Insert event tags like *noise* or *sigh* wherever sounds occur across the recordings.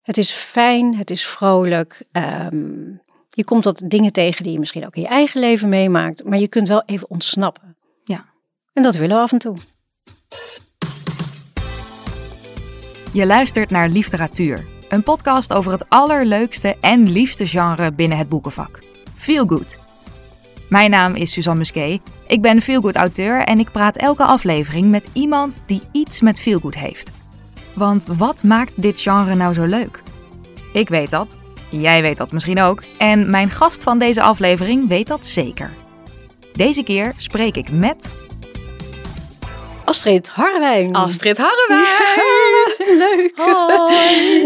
Het is fijn, het is vrolijk. ehm, je komt wat dingen tegen die je misschien ook in je eigen leven meemaakt, maar je kunt wel even ontsnappen. Ja. En dat willen we af en toe. Je luistert naar Liefderatuur, een podcast over het allerleukste en liefste genre binnen het boekenvak: Feelgood. Mijn naam is Suzanne Musquet, ik ben Feelgood auteur en ik praat elke aflevering met iemand die iets met Feelgood heeft. Want wat maakt dit genre nou zo leuk? Ik weet dat, jij weet dat misschien ook, en mijn gast van deze aflevering weet dat zeker. Deze keer spreek ik met Astrid Harwijn. *laughs* Astrid Harrewijn. Leuk.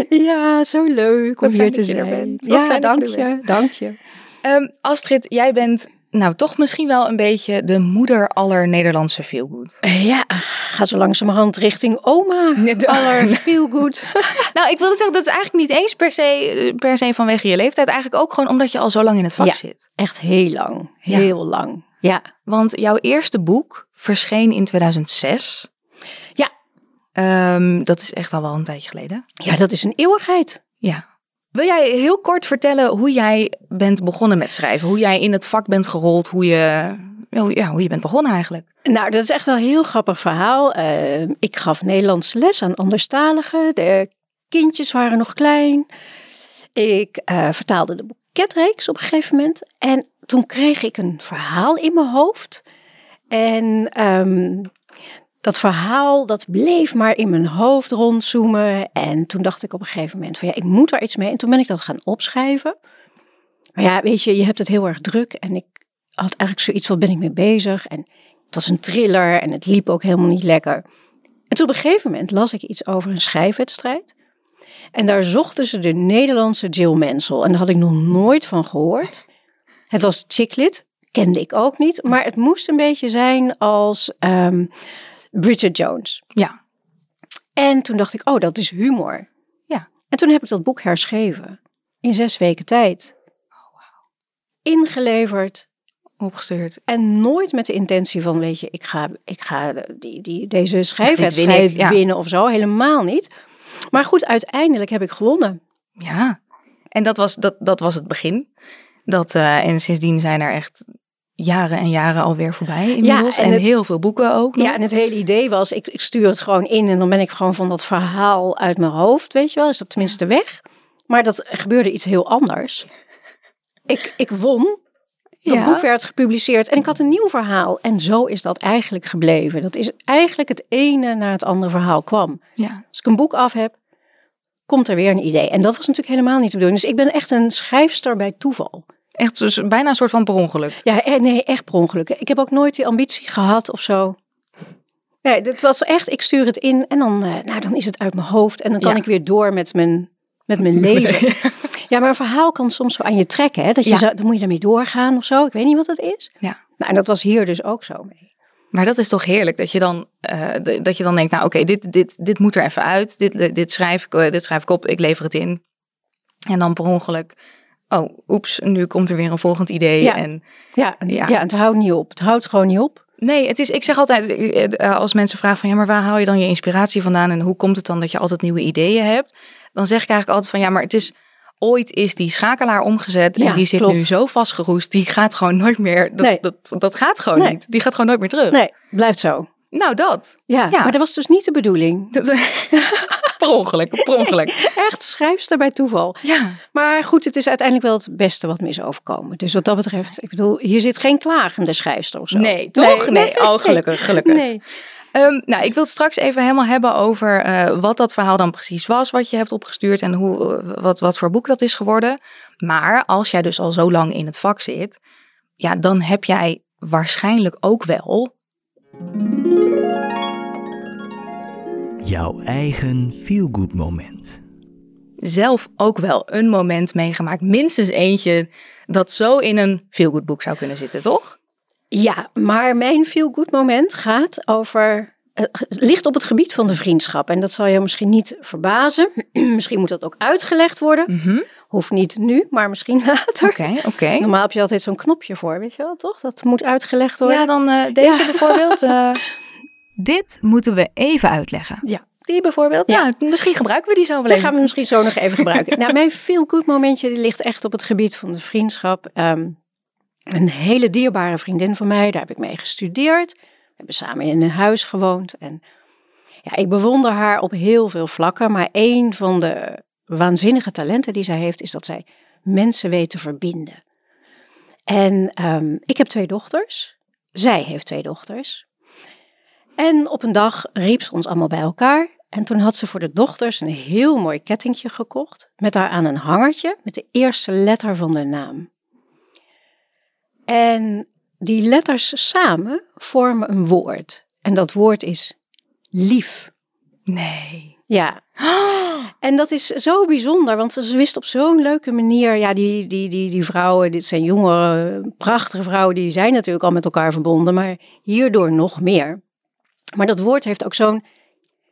*laughs* Ja, zo leuk om Wat hier fijn te dat je er zijn. bent. Wat Ja, fijn dat dank je er je. Dank je. Ehm, Astrid, jij bent nou toch misschien wel een beetje de moeder aller Nederlandse feelgood. Eh, Ja, gaat zo langzamerhand richting oma. Nee, *laughs* de- Aller feel *laughs* good. Nou, ik wilde zeggen, dat is eigenlijk niet eens per se, per se vanwege je leeftijd. Eigenlijk ook gewoon omdat je al zo lang in het vak Ja. zit. Echt heel lang. Ja. Heel lang. Ja. Want jouw eerste boek verscheen in 2006. Ja. Ehm, dat is echt al wel een tijdje geleden. ja, dat is een eeuwigheid. Ja. Wil jij heel kort vertellen hoe jij bent begonnen met schrijven? Hoe jij in het vak bent gerold? Hoe je, ja, hoe je bent begonnen eigenlijk? Nou, dat is echt wel een heel grappig verhaal. Eh, ik gaf Nederlands les aan anderstaligen. De kindjes waren nog klein. Ik eh, vertaalde de boeketreeks op een gegeven moment. En toen kreeg ik een verhaal in mijn hoofd. En ehm, dat verhaal, dat bleef maar in mijn hoofd rondzoomen. En toen dacht ik op een gegeven moment van ja, ik moet daar iets mee. En toen ben ik dat gaan opschrijven. Maar ja, weet je, je hebt het heel erg druk. En ik had eigenlijk zoiets, wat ben ik mee bezig? En het was een thriller en het liep ook helemaal niet lekker. En toen op een gegeven moment las ik iets over een schrijfwedstrijd. En daar zochten ze de Nederlandse Jill Mansell. En daar had ik nog nooit van gehoord. Het was chicklit, kende ik ook niet. Maar het moest een beetje zijn als ehm, Bridget Jones. Ja. En toen dacht ik, oh, dat is humor. Ja. En toen heb ik dat boek herschreven. In zes weken tijd. Ingeleverd, Opgestuurd. en nooit met de intentie van, weet je, ik ga, ik ga die, die, deze schrijfwedstrijd win ik, ja. winnen of zo. Helemaal niet. Maar goed, uiteindelijk heb ik gewonnen. Ja, en dat was, dat, dat was het begin. Dat, eh, en sindsdien zijn er echt jaren en jaren alweer voorbij inmiddels. en en het- heel veel boeken ook. nog. Ja, en het hele idee was, ik, ik stuur het gewoon in en dan ben ik gewoon van dat verhaal uit mijn hoofd, weet je wel. Is dat tenminste weg? Maar dat gebeurde iets heel anders. Ik, ik won, dat Ja. boek werd gepubliceerd en ik had een nieuw verhaal. En zo is dat eigenlijk gebleven. Dat is eigenlijk het ene naar het andere verhaal kwam. ja. Als ik een boek af heb, komt er weer een idee. En dat was natuurlijk helemaal niet de bedoeling. Dus ik ben echt een schrijfster bij toeval. Echt dus bijna een soort van per ongeluk. Ja, eh, nee, echt per ongeluk. Ik heb ook nooit die ambitie gehad of zo. Nee, dat was echt, ik stuur het in en dan, eh, nou, dan is het uit mijn hoofd. En dan kan Ja. ik weer door met mijn, met mijn *laughs* leven. Ja, maar een verhaal kan soms zo aan je trekken. Hè? Dat je Ja. zo- dan moet je ermee doorgaan of zo. Ik weet niet wat het is. Ja. Nou, en dat was hier dus ook zo mee. Maar dat is toch heerlijk dat je dan, eh, d- dat je dan denkt, nou oké, dit, dit, dit moet er even uit. Dit, dit- dit, schrijf ik, eh, dit schrijf ik op, ik lever het in. En dan per ongeluk, oh oeps, nu komt er weer een volgend idee. Ja. En Ja, en, ja. Ja. en het houdt niet op. Het houdt gewoon niet op. Nee, het is, ik zeg altijd, eh, eh, als mensen vragen van ja, maar waar haal je dan je inspiratie vandaan en hoe komt het dan dat je altijd nieuwe ideeën hebt? Dan zeg ik eigenlijk altijd van ja, maar het is ooit is die schakelaar omgezet Ja, en die zit klopt. nu zo vastgeroest, die gaat gewoon nooit meer, dat, Nee. dat, dat gaat gewoon Nee. niet. Die gaat gewoon nooit meer terug. Nee, blijft zo. Nou, dat. Ja, Ja. maar dat was dus niet de bedoeling. Dat- *laughs* per ongeluk, per ongeluk. Echt schrijfster bij toeval. Ja, Maar goed, het is uiteindelijk wel het beste wat me is overkomen. Dus wat dat betreft, ik bedoel, hier zit geen klagende schrijfster of zo. nee, toch? Nee, oh gelukkig, gelukkig. Nee. Ehm, nou, ik wil het straks even helemaal hebben over eh, wat dat verhaal dan precies was, wat je hebt opgestuurd en hoe, eh, wat, wat voor boek dat is geworden. Maar als jij dus al zo lang in het vak zit, ja, dan heb jij waarschijnlijk ook wel. Jouw eigen feel-good moment. Zelf ook wel een moment meegemaakt, minstens eentje, dat zo in een feelgood boek zou kunnen zitten, toch? Ja, maar mijn feel-good moment gaat over... eh, Het ligt op het gebied van de vriendschap. En dat zal je misschien niet verbazen. *clears throat* misschien moet dat ook uitgelegd worden. Mhm. Hoeft niet nu, maar misschien *laughs* later. Oké, oké. Normaal heb je altijd zo'n knopje voor, weet je wel, toch? Dat moet uitgelegd worden. Ja, dan eh, deze bijvoorbeeld. eh, Dit moeten we even uitleggen. Ja. die bijvoorbeeld. Ja. Ja, misschien gebruiken we die zo wel Dan even. gaan we misschien zo nog even gebruiken. nou, mijn feel good momentje die ligt echt op het gebied van de vriendschap. Ehm, een hele dierbare vriendin van mij, daar heb ik mee gestudeerd. We hebben samen in een huis gewoond. En ja, ik bewonder haar op heel veel vlakken. Maar een van de waanzinnige talenten die zij heeft, is dat zij mensen weet te verbinden. En ehm, ik heb twee dochters. Zij heeft twee dochters. En op een dag riep ze ons allemaal bij elkaar. En toen had ze voor de dochters een heel mooi kettingje gekocht. Met daaraan een hangertje met de eerste letter van de naam. En die letters samen vormen een woord. En dat woord is lief. *gasps* Nee. *gasps* Ja. En dat is zo bijzonder, want ze wist op zo'n leuke manier. Ja, die, die, die, die vrouwen, dit zijn jongere, prachtige vrouwen, die zijn natuurlijk al met elkaar verbonden, maar hierdoor nog meer. Maar dat woord heeft ook zo'n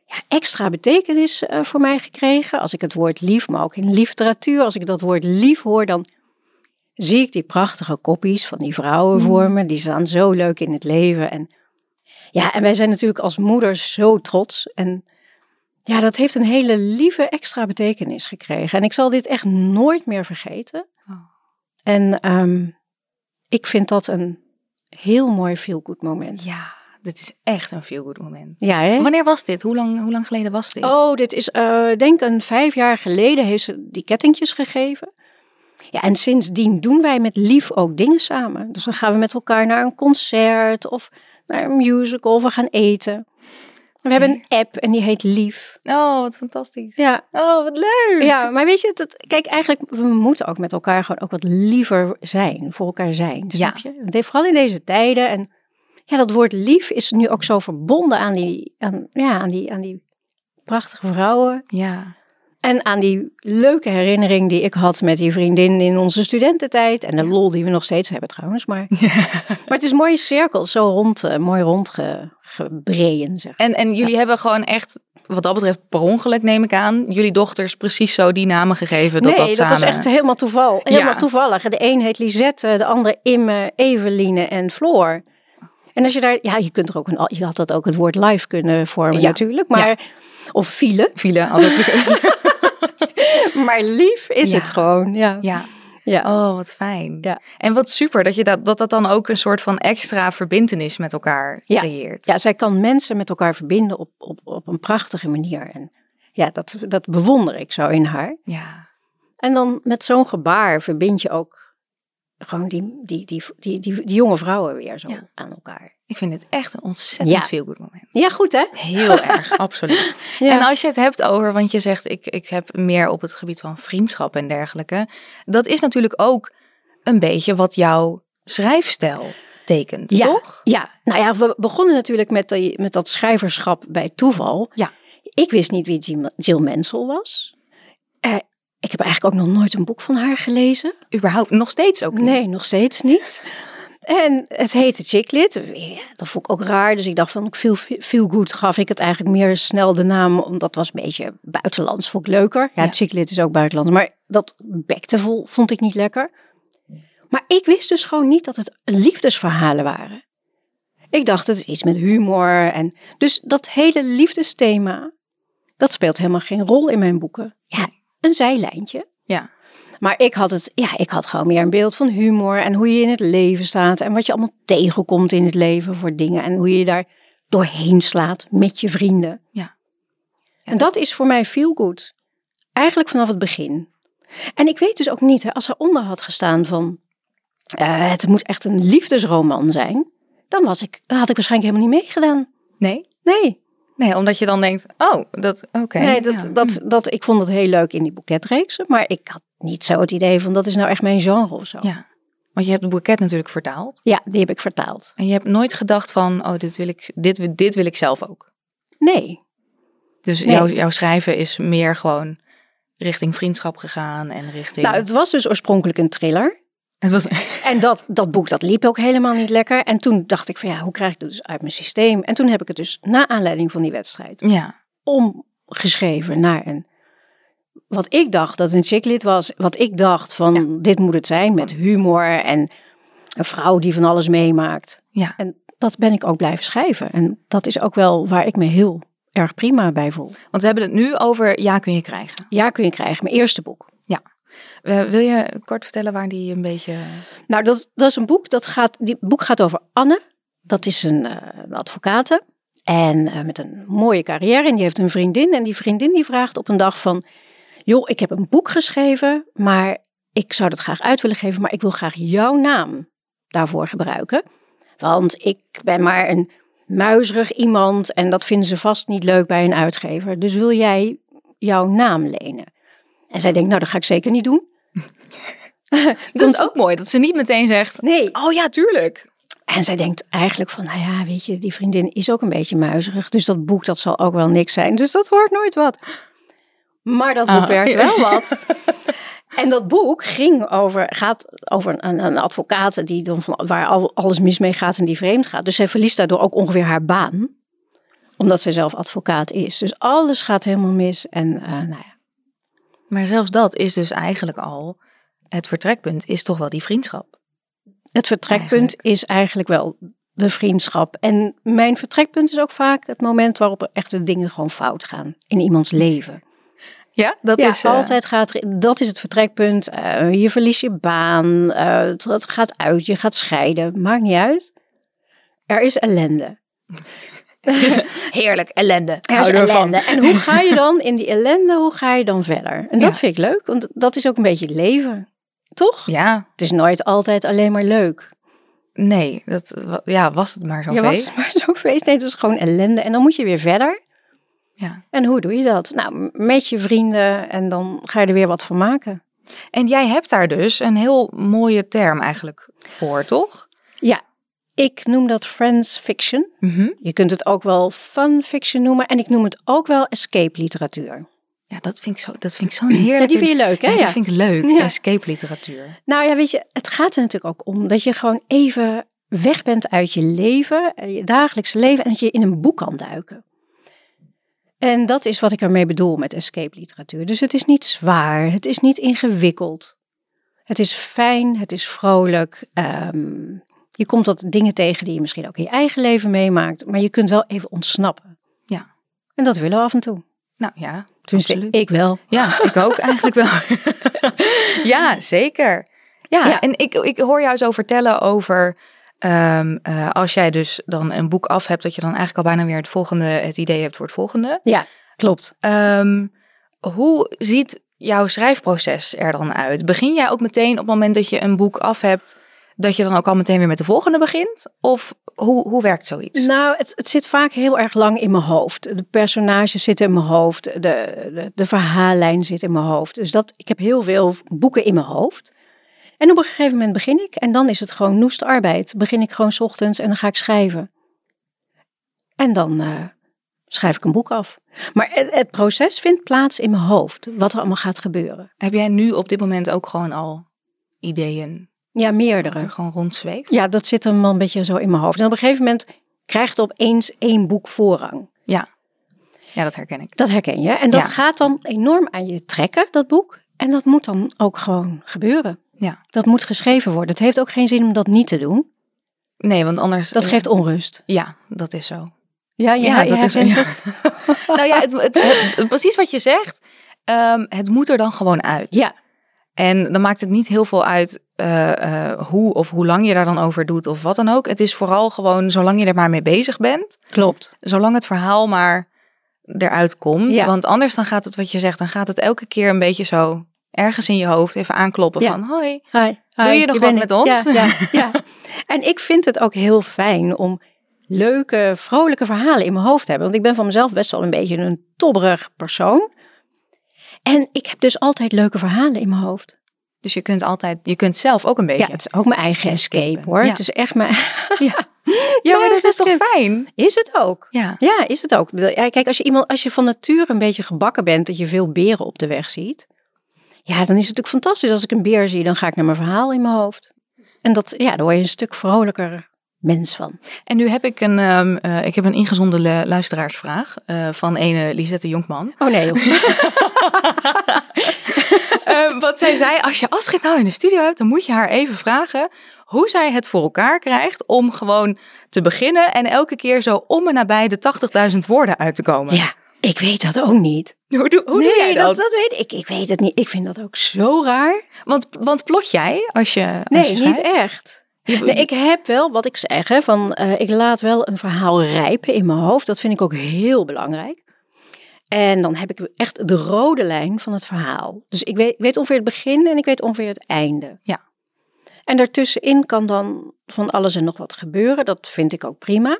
ja, extra betekenis eh, voor mij gekregen. Als ik het woord lief, maar ook in literatuur, als ik dat woord lief hoor, dan zie ik die prachtige kopies van die vrouwen voor me. Die staan zo leuk in het leven. En, ja, en wij zijn natuurlijk als moeders zo trots. En ja, dat heeft een hele lieve extra betekenis gekregen. En ik zal dit echt nooit meer vergeten. Oh. En ehm, ik vind dat een heel mooi feel-good moment. Ja, Ja, dit is echt een feel good moment. hè? Wanneer was dit? Hoe lang, hoe lang geleden was dit? Oh, dit is, eh, denk een vijf jaar geleden heeft ze die kettingjes gegeven. Ja, en sindsdien doen wij met lief ook dingen samen. Dus dan gaan we met elkaar naar een concert of naar een musical of we gaan eten. We hebben een app en die heet Lief. Oh, wat fantastisch. Ja, Oh, wat leuk. Ja, maar weet je, dat, kijk, eigenlijk, we moeten ook met elkaar gewoon ook wat liever zijn, voor elkaar zijn, Dus snap je? Want Vooral in deze tijden. En ja, dat woord lief is nu ook zo verbonden aan die, aan, ja, aan die, aan die prachtige vrouwen. Ja. En aan die leuke herinnering die ik had met die vriendin in onze studententijd. En de lol die we nog steeds hebben trouwens. *laughs* Maar, maar het is mooie cirkels, zo rond, eh, mooi rondgebreien, zeg. En, en jullie hebben gewoon echt, wat dat betreft, per ongeluk neem ik aan, jullie dochters precies zo die namen gegeven. Dat nee, dat, dat, samen... was echt helemaal, toeval, helemaal Ja. toevallig. De een heet Lisette, de andere Imme, Eveline en Floor. En als je daar, ja, je kunt er ook een, je had dat ook het woord live kunnen vormen Ja. natuurlijk, maar of file, *laughs* Vielen, als het... maar lief is Ja. het gewoon. Ja, ja. ja. Oh, wat fijn. Ja. En wat super dat, je dat, dat dat dan ook een soort van extra verbindenis met elkaar Ja. creëert. ja zij kan mensen met elkaar verbinden op, op, op een prachtige manier. En ja, dat, dat bewonder ik zo in haar. Ja. En dan met zo'n gebaar verbind je ook gewoon die, die, die, die, die, die jonge vrouwen weer zo Ja. aan elkaar. Ik vind dit echt een ontzettend Ja. veel goed moment. Ja, goed hè? Heel *laughs* erg, absoluut. Ja. En als je het hebt over, want je zegt ik, ik heb meer op het gebied van vriendschap en dergelijke. Dat is natuurlijk ook een beetje wat jouw schrijfstijl tekent, Ja, toch? Ja, nou ja, we begonnen natuurlijk met, die- met dat schrijverschap bij toeval. Ja. Ik wist niet wie Jim- Jill Mansell was. Eh, ik heb eigenlijk ook nog nooit een boek van haar gelezen. Überhaupt, nog steeds ook niet. Nee, nog steeds niet. En het heette Chicklit. Ja, dat vond ik ook raar. Dus ik dacht van, ik viel, viel goed gaf ik het eigenlijk meer snel de naam. Omdat het was een beetje buitenlands, vond ik leuker. Ja, Ja. Chicklit is ook buitenlands. Maar dat bekte vol vond ik niet lekker. Maar ik wist dus gewoon niet dat het liefdesverhalen waren. Ik dacht, het is iets met humor. En... Dus dat hele liefdesthema, dat speelt helemaal geen rol in mijn boeken. Ja, een zijlijntje. Ja. Maar ik had, het, ja, ik had gewoon meer een beeld van humor en hoe je in het leven staat en wat je allemaal tegenkomt in het leven voor dingen en hoe je daar doorheen slaat met je vrienden. Ja. En dat is voor mij feel good. Eigenlijk vanaf het begin. En ik weet dus ook niet, hè, als er onder had gestaan van eh, het moet echt een liefdesroman zijn, dan, was ik, dan had ik waarschijnlijk helemaal niet meegedaan. Nee? Nee, Nee, omdat je dan denkt, oh, dat, oké. nee dat, ja. Hm. dat, dat, ik vond het heel leuk in die boeketreeksen, maar ik had niet zo het idee van dat is nou echt mijn genre of zo. Ja, want je hebt het boeket natuurlijk vertaald. Ja, die heb ik vertaald. En je hebt nooit gedacht van, oh, dit wil ik, dit, dit wil ik zelf ook. Nee. Dus Nee. jouw, jouw schrijven is meer gewoon richting vriendschap gegaan en richting... Nou, het was dus oorspronkelijk een thriller. het was... En dat, dat boek, dat liep ook helemaal niet lekker. En toen dacht ik van ja, hoe krijg ik dat dus uit mijn systeem? En toen heb ik het dus na aanleiding van die wedstrijd Ja, omgeschreven naar een... Wat ik dacht dat een chicklit was, wat ik dacht van dit moet het zijn met humor en een vrouw die van alles meemaakt. ja. En dat ben ik ook blijven schrijven. En dat is ook wel waar ik me heel erg prima bij voel. Want we hebben het nu over Ja kun je krijgen. Ja, kun je krijgen. Mijn eerste boek. Eh, wil je kort vertellen waar die een beetje... Nou, dat, dat is een boek. Dat gaat, die boek gaat over Anne. Dat is een, eh, een advocate. En eh, met een mooie carrière. En die heeft een vriendin. En die vriendin die vraagt op een dag van... joh, ik heb een boek geschreven, maar ik zou dat graag uit willen geven. Maar ik wil graag jouw naam daarvoor gebruiken. Want ik ben maar een muizerig iemand. En dat vinden ze vast niet leuk bij een uitgever. Dus wil jij jouw naam lenen? En zij denkt, nou, dat ga ik zeker niet doen. Dat is ook mooi, dat ze niet meteen zegt... Nee, Oh ja, tuurlijk. En zij denkt eigenlijk van, nou ja, weet je, die vriendin is ook een beetje muizerig. Dus dat boek, dat zal ook wel niks zijn. Dus dat wordt nooit wat. Maar dat boek Ah, werd ja. wel *laughs* wat. En dat boek ging over, gaat over een, een advocaat die dan van, waar al, alles mis mee gaat en die vreemd gaat. Dus zij verliest daardoor ook ongeveer haar baan. Omdat zij zelf advocaat is. Dus alles gaat helemaal mis. En eh, nou ja. Maar zelfs dat is dus eigenlijk al... Het vertrekpunt is toch wel die vriendschap. het vertrekpunt is eigenlijk wel de vriendschap. En mijn vertrekpunt is ook vaak het moment waarop er echt de dingen gewoon fout gaan in iemands leven. Ja, dat ja, is... eh, altijd gaat er- dat is het vertrekpunt. Eh, je verliest je baan, eh, het, het gaat uit, je gaat scheiden, maakt niet uit. Er is ellende. Heerlijk, ellende. Er is Houden we van. ellende. En hoe ga je dan in die ellende, hoe ga je dan verder? En dat Ja. vind ik leuk, want dat is ook een beetje het leven. Toch? Ja, Het is nooit altijd alleen maar leuk. nee, dat wa- ja, was het maar zo'n je feest. was *laughs* maar zo'n feest. Nee, dat is gewoon ellende. En dan moet je weer verder. Ja. En hoe doe je dat? Nou, m- met je vrienden en dan ga je er weer wat van maken. En jij hebt daar dus een heel mooie term eigenlijk voor, toch? Ja, ik noem dat friends fiction. Mhm. Je kunt het ook wel fun fiction noemen. En ik noem het ook wel escape literatuur. Ja, dat vind ik zo- dat vind ik zo'n heerlijk. Ja, die vind je leuk, hè? Ja, Ja. dat vind ik leuk. Ja. Escape literatuur. Nou ja, weet je, het gaat er natuurlijk ook om dat je gewoon even weg bent uit je leven, eh, je dagelijkse leven, en dat je in een boek kan duiken. En dat is wat ik ermee bedoel met escape literatuur. Dus het is niet zwaar, het is niet ingewikkeld. Het is fijn, het is vrolijk. ehm, je komt wat dingen tegen die je misschien ook in je eigen leven meemaakt, maar je kunt wel even ontsnappen. Ja. En dat willen we af en toe. Nou ja, Tenminste, Absoluut. ik wel. ja, ik *laughs* ook eigenlijk wel. ja, zeker. Ja, Ja. en ik, ik hoor jou zo vertellen over ehm, eh, als jij dus dan een boek af hebt, dat je dan eigenlijk al bijna weer het volgende, het idee hebt voor het volgende. Ja, klopt. Ehm, hoe ziet jouw schrijfproces er dan uit? Begin jij ook meteen op het moment dat je een boek af hebt, dat je dan ook al meteen weer met de volgende begint? Of hoe, hoe werkt zoiets? Nou, het, het zit vaak heel erg lang in mijn hoofd. De personages zitten in mijn hoofd, de, de, de verhaallijn zit in mijn hoofd. Dus dat, ik heb heel veel boeken in mijn hoofd. En op een gegeven moment begin ik en dan is het gewoon noeste arbeid. Begin ik gewoon 's ochtends en dan ga ik schrijven. En dan eh, schrijf ik een boek af. Maar het, het proces vindt plaats in mijn hoofd, wat er allemaal gaat gebeuren. Heb jij nu op dit moment ook gewoon al ideeën Ja, dat meerdere. er gewoon rondzweeft? Ja, dat zit hem wel een beetje zo in mijn hoofd. En op een gegeven moment krijgt opeens één boek voorrang. Ja, dat herken ik. Dat herken je. En dat Ja. gaat dan enorm aan je trekken, dat boek. En dat moet dan ook gewoon gebeuren. Ja. Dat moet geschreven worden. Het heeft ook geen zin om dat niet te doen. Nee, want anders... eh, Dat geeft onrust. Ja, dat is *laughs* zo. Ja, ja, dat is ja. het. nou ja, het, het- het- precies wat je zegt. Ehm, het moet er dan gewoon uit. Ja, En dan maakt het niet heel veel uit eh, eh, hoe of hoe lang je daar dan over doet of wat dan ook. Het is vooral gewoon zolang je er maar mee bezig bent, klopt. zolang het verhaal maar eruit komt. Ja. Want anders dan gaat het wat je zegt, dan gaat het elke keer een beetje zo ergens in je hoofd even aankloppen Ja. van hoi. Hi, Wil hi, je hier nog wat ben met ik. ons? Ja, ja, ja. En ik vind het ook heel fijn om leuke, vrolijke verhalen in mijn hoofd te hebben. Want ik ben van mezelf best wel een beetje een tobberig persoon. En ik heb dus altijd leuke verhalen in mijn hoofd. Dus je kunt altijd, je kunt zelf ook een beetje. Ja, het is ook mijn eigen escape Escapen, hoor. ja. Het is echt mijn... *laughs* Ja. Ja, maar dat is toch fijn? Is het ook? Ja. Ja, is het ook. Ik bedoel, ja, Kijk, als je, iemand, als je van nature een beetje gebakken bent, dat je veel beren op de weg ziet. Ja, dan is het natuurlijk fantastisch. Als ik een beer zie, dan ga ik naar mijn verhaal in mijn hoofd. En dat, ja, dan word je een stuk vrolijker mens van. En nu heb ik een, ehm, eh, ik heb een ingezonde lu- luisteraarsvraag eh, van ene *laughs* Lisette Jonkman. Oh nee, joh. Eh, wat zij zei, als je Astrid nou in de studio hebt, dan moet je haar even vragen hoe zij het voor elkaar krijgt om gewoon te beginnen en elke keer zo om en nabij de 80.000 woorden uit te komen. ja, ik weet dat ook niet. Hoe, doe, hoe nee, doe jij dat? dat? weet ik. Ik weet het niet. Ik vind dat ook zo raar. Want, want plot jij als je als Nee, je niet schrijft? echt. Je- Nee, ik heb wel wat ik zeg, hè, van eh, ik laat wel een verhaal rijpen in mijn hoofd. Dat vind ik ook heel belangrijk. En dan heb ik echt de rode lijn van het verhaal. Dus ik weet, ik weet ongeveer het begin en ik weet ongeveer het einde. Ja. En daartussenin kan dan van alles en nog wat gebeuren. Dat vind ik ook prima.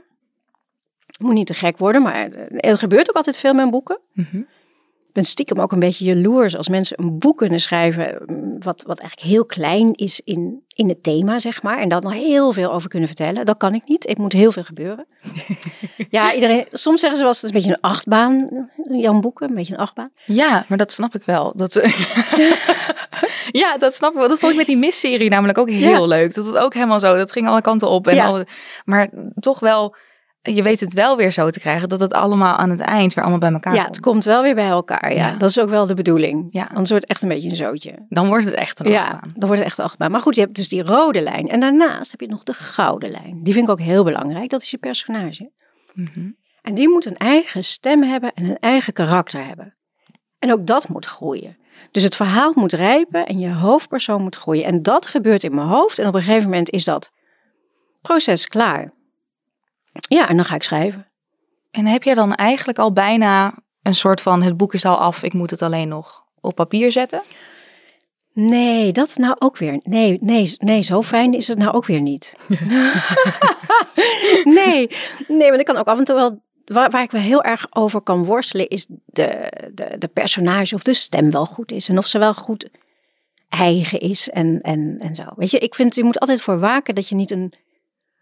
Moet niet te gek worden, maar eh, er gebeurt ook altijd veel met boeken. Mhm. Ik ben stiekem ook een beetje jaloers als mensen een boek kunnen schrijven. mm, Wat, wat eigenlijk heel klein is in, in het thema, zeg maar. En daar nog heel veel over kunnen vertellen. Dat kan ik niet. Het moet heel veel gebeuren. ja, iedereen. Soms zeggen ze wel eens: het is een beetje een achtbaan. Jan Boeken, een beetje een achtbaan. Ja, maar dat snap ik wel. Dat, *laughs* ja, dat snap ik wel. Dat vond ik met die misserie namelijk ook heel Ja. leuk. Dat het ook helemaal zo, dat ging alle kanten op. En Ja. alle- maar toch wel, je weet het wel weer zo te krijgen dat het allemaal aan het eind weer allemaal bij elkaar Ja, komt. het komt wel weer bij elkaar. Ja. Ja. dat is ook wel de bedoeling. Ja. Anders wordt het echt een beetje een zootje. Dan wordt het echt een Ja, achtbaan. dan wordt het echt een achtbaan. Maar goed, je hebt dus die rode lijn. En daarnaast heb je nog de gouden lijn. Die vind ik ook heel belangrijk. Dat is je personage. Mhm. En die moet een eigen stem hebben en een eigen karakter hebben. En ook dat moet groeien. Dus het verhaal moet rijpen en je hoofdpersoon moet groeien. En dat gebeurt in mijn hoofd. En op een gegeven moment is dat proces klaar. Ja, en dan ga ik schrijven. En heb jij dan eigenlijk al bijna een soort van, het boek is al af, ik moet het alleen nog op papier zetten? Nee, dat is nou ook weer. Nee, nee, nee, zo fijn is het nou ook weer niet. nee, nee, want ik kan ook af en toe wel. Waar, waar ik wel heel erg over kan worstelen, is de, de, de personage of de stem wel goed is. En of ze wel goed eigen is en, en, en zo. Weet je, ik vind, je moet altijd voor waken dat je niet een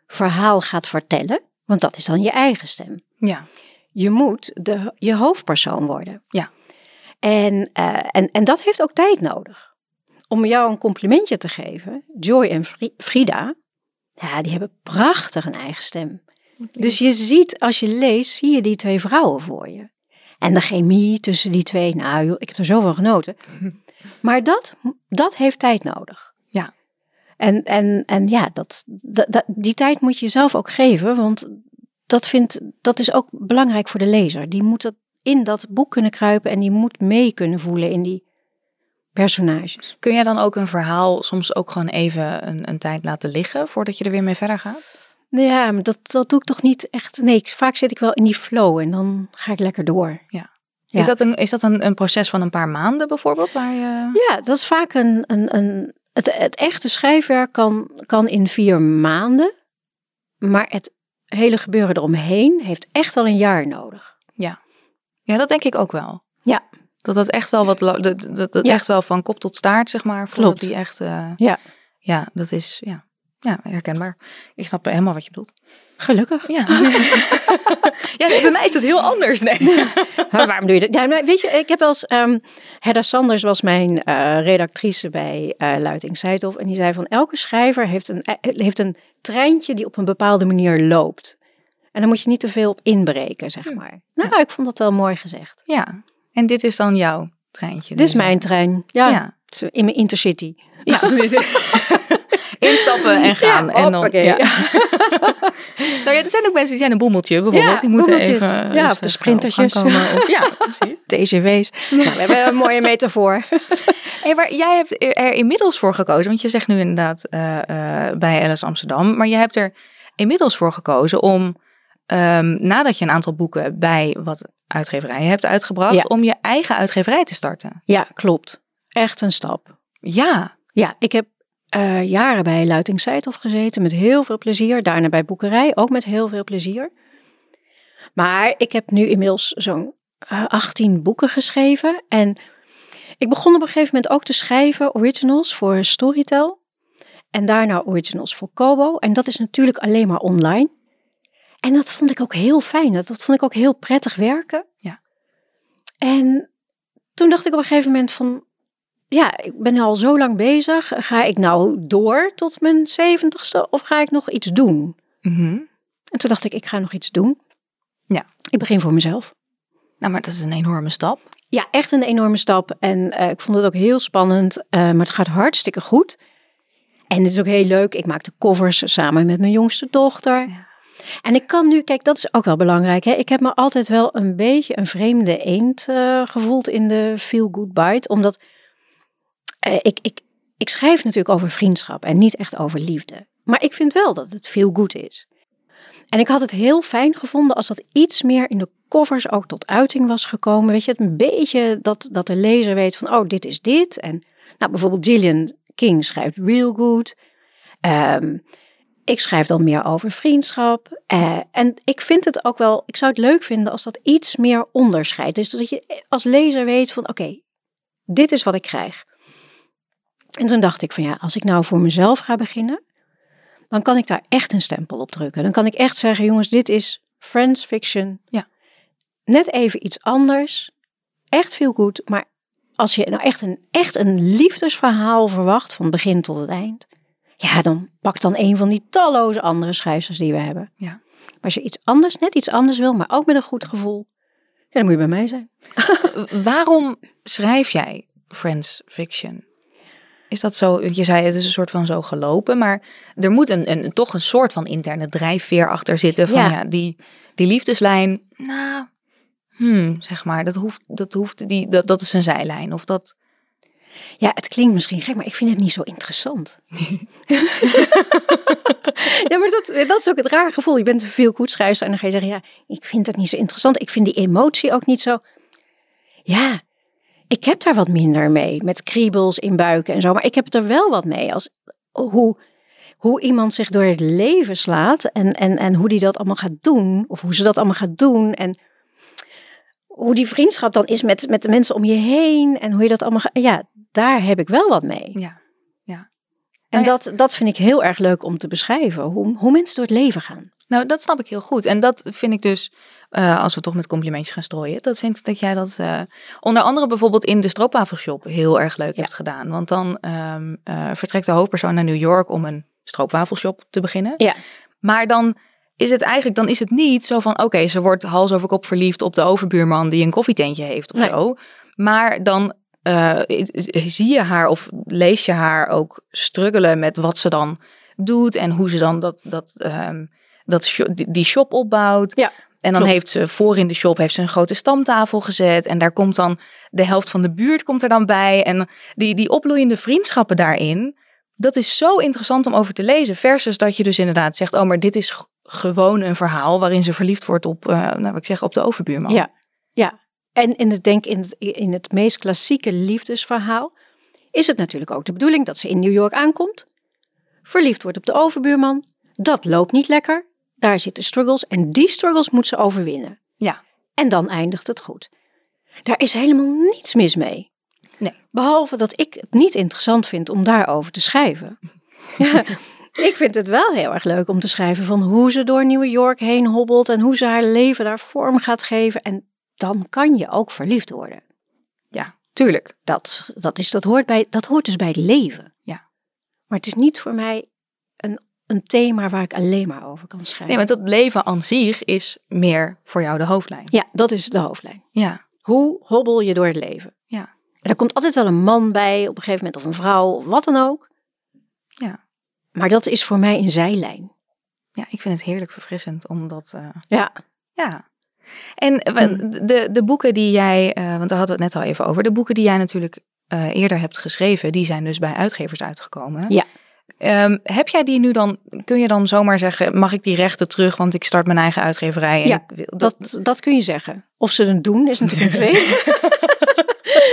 verhaal gaat vertellen. Want dat is dan je eigen stem Ja. je moet de, je hoofdpersoon worden. Ja. En, eh, en, en dat heeft ook tijd nodig. Om jou een complimentje te geven, Joy en Fri- Frida, ja, die hebben prachtig een eigen stem. Dus je ziet, als je leest, zie je die twee vrouwen voor je. En de chemie tussen die twee, nou joh, ik heb er zo van *laughs* genoten. Maar dat, dat heeft tijd nodig. Ja. En, en, en ja, dat, dat, dat- die tijd moet je jezelf ook geven, want dat, vindt, dat is ook belangrijk voor de lezer. Die moet dat, in dat boek kunnen kruipen en die moet mee kunnen voelen in die personages. Kun jij dan ook een verhaal soms ook gewoon even een, een tijd laten liggen voordat je er weer mee verder gaat? Nou Ja, maar dat, dat doe ik toch niet echt. Nee, ik- vaak zit ik wel in die flow en dan ga ik lekker door. Ja. Is dat, een, is dat een, een proces van een paar maanden bijvoorbeeld? Waar je... Ja, dat is vaak een. een, een het, het echte schrijfwerk kan, kan in vier maanden. Maar het hele gebeuren eromheen heeft echt wel een jaar nodig. Ja, dat denk ik ook wel. Ja. Dat dat echt wel wat, la- dat, dat, dat Ja. echt wel van kop tot staart, zeg maar. Voordat Klopt. die echt, eh, Ja. Ja, dat is, ja. Ja, herkenbaar. Ik snap helemaal wat je bedoelt. Gelukkig. *laughs* Ja. ja, nee, bij mij is dat heel anders. Nee. Maar waarom doe je dat? Ja, maar weet je, ik heb wel eens... ehm Hedda Sanders was mijn eh, redactrice bij eh Luiting Seidhoff. En die zei van, elke schrijver heeft een, eh, heeft een treintje die op een bepaalde manier loopt. En daar moet je niet te veel op inbreken, Hm. zeg maar. Nou, ik vond dat wel mooi gezegd. Ja. En dit is dan jouw treintje. Dit is deze. mijn trein. Ja, Ja. in mijn intercity. ja. *laughs* Instappen en gaan. Ja, en dan, hoppakee. ja. Nou ja, er zijn ook mensen die zijn een boemeltje bijvoorbeeld. Ja, die moeten boemeltjes. even eh, Ja, of de rustig op gang sprintertjes. komen. *laughs* Of, ja, precies. TCV's. Nou, we hebben een mooie *laughs* metafoor. Hey, maar jij hebt er, er inmiddels voor gekozen, want je zegt nu inderdaad eh, eh, bij LS Amsterdam, maar je hebt er inmiddels voor gekozen om, ehm, nadat je een aantal boeken bij wat uitgeverijen hebt uitgebracht, Ja. om je eigen uitgeverij te starten. Ja, klopt. Echt een stap. Ja, Ja, ik heb eh, jaren bij Luiting Seidhoff gezeten met heel veel plezier. Daarna bij Boekerij ook met heel veel plezier. Maar ik heb nu inmiddels zo'n eh, 18 boeken geschreven. En ik begon op een gegeven moment ook te schrijven originals voor Storytel. En daarna originals voor Kobo. En dat is natuurlijk alleen maar online. En dat vond ik ook heel fijn. Dat dat vond ik ook heel prettig werken. Ja. En toen dacht ik op een gegeven moment van ja, ik ben al zo lang bezig. Ga ik nou door tot mijn zeventigste of ga ik nog iets doen? Mhm. En toen dacht ik, ik ga nog iets doen. Ja. Ik begin voor mezelf. Nou, maar dat is een enorme stap. Ja, echt een enorme stap. En eh, ik vond het ook heel spannend, eh, maar het gaat hartstikke goed. En het is ook heel leuk. Ik maak de covers samen met mijn jongste dochter. En ik kan nu, kijk, dat is ook wel belangrijk. Hè? Ik heb me altijd wel een beetje een vreemde eend eh, gevoeld in de Feel Good Bite. Omdat eh, ik, ik, ik schrijf natuurlijk over vriendschap en niet echt over liefde. Maar ik vind wel dat het feel good is. En ik had het heel fijn gevonden als dat iets meer in de covers ook tot uiting was gekomen. Weet je, het een beetje dat, dat de lezer weet van, oh, dit is dit. En nou, bijvoorbeeld Gillian King schrijft real good. Ehm, ik schrijf dan meer over vriendschap. Eh, en ik vind het ook wel, ik zou het leuk vinden als dat iets meer onderscheid. Dus dat je als lezer weet van, oké, dit is wat ik krijg. En toen dacht ik van ja, als ik nou voor mezelf ga beginnen, dan kan ik daar echt een stempel op drukken. Dan kan ik echt zeggen, jongens, dit is Friends fiction. Ja. Net even iets anders. Echt veel goed. Maar als je nou echt een, echt een liefdesverhaal verwacht, van begin tot het eind. Ja, dan pak dan een van die talloze andere schrijvers die we hebben. Ja. Maar als je iets anders, net iets anders wil, maar ook met een goed gevoel. Ja, dan moet je bij mij zijn. W- Waarom schrijf jij Friends fiction? Is dat zo? Je zei het is een soort van zo gelopen, maar er moet een, een toch een soort van interne drijfveer achter zitten. Van ja, Ja. die, die liefdeslijn, nou, hmm, zeg maar, dat hoeft, dat hoeft die, dat, dat is een zijlijn. Of dat. Ja, het klinkt misschien gek, maar ik vind het niet zo interessant. ja, maar dat, dat is ook het rare gevoel. Je bent veel goed schrijfster en dan ga je zeggen, ja, ik vind dat niet zo interessant. Ik vind die emotie ook niet zo... Ja, ik heb daar wat minder mee, met kriebels in buiken en zo. Maar ik heb er wel wat mee, als hoe, hoe iemand zich door het leven slaat en, en, en hoe die dat allemaal gaat doen. Of hoe ze dat allemaal gaat doen en hoe die vriendschap dan is met, met de mensen om je heen en hoe je dat allemaal... ga- Ja, daar heb ik wel wat mee. Ja. En Nou ja. dat, dat vind ik heel erg leuk om te beschrijven, hoe, hoe mensen door het leven gaan. Nou, dat snap ik heel goed. En dat vind ik dus, eh, als we toch met complimentjes gaan strooien, dat vind ik dat jij dat eh, onder andere bijvoorbeeld in de stroopwafelshop heel erg leuk Ja. hebt gedaan. Want dan ehm, eh, vertrekt de hoofdpersoon naar New York om een stroopwafelshop te beginnen. Ja. Maar dan is het eigenlijk, dan is het niet zo van, oké, ze wordt hals over kop verliefd op de overbuurman die een koffietentje heeft of Nee. zo. Maar dan eh, zie je haar of lees je haar ook struggelen met wat ze dan doet en hoe ze dan dat, dat, ehm, dat sho- die die shop opbouwt. Ja, en dan klopt. heeft ze voor in de shop heeft ze een grote stamtafel gezet. En daar komt dan de helft van de buurt komt er dan bij. En die, die opbloeiende vriendschappen daarin. Dat is zo interessant om over te lezen. Versus dat je dus inderdaad zegt: Oh, maar dit is g- gewoon een verhaal waarin ze verliefd wordt op, eh, nou, wat ik zeg, op de overbuurman. Ja, ja. En in het, denk in het, in het meest klassieke liefdesverhaal is het natuurlijk ook de bedoeling dat ze in New York aankomt, verliefd wordt op de overbuurman, dat loopt niet lekker, daar zitten struggles en die struggles moet ze overwinnen. Ja. En dan eindigt het goed. Daar is helemaal niets mis mee. Nee. Behalve dat ik het niet interessant vind om daarover te *laughs* schrijven. Ja, ik vind het wel heel erg leuk om te schrijven van hoe ze door New York heen hobbelt en hoe ze haar leven daar vorm gaat geven. En dan kan je ook verliefd worden. ja tuurlijk. Dat, dat, is, dat, hoort, bij, dat hoort dus bij het leven. Ja. Maar het is niet voor mij een, een thema waar ik alleen maar over kan schrijven. Nee, want dat leven aan zich is meer voor jou de hoofdlijn. Ja, dat is de hoofdlijn. Ja, Hoe hobbel je door het leven? Ja. En er komt altijd wel een man bij op een gegeven moment, of een vrouw, of wat dan ook. Ja. Maar dat is voor mij een zijlijn. ja ik vind het heerlijk verfrissend omdat. eh, Ja. Mm. Ja. En eh, wa- de, de boeken die jij, eh, want daar hadden we het net al even over, de boeken die jij natuurlijk eh, eerder hebt geschreven, die zijn dus bij uitgevers uitgekomen. Ja. Ehm, heb jij die nu dan, kun je dan zomaar zeggen, mag ik die rechten terug, want ik start mijn eigen uitgeverij? En Ja, ik wil dat, Dat, dat kun je zeggen. Of ze het doen, is *laughs* natuurlijk een twee.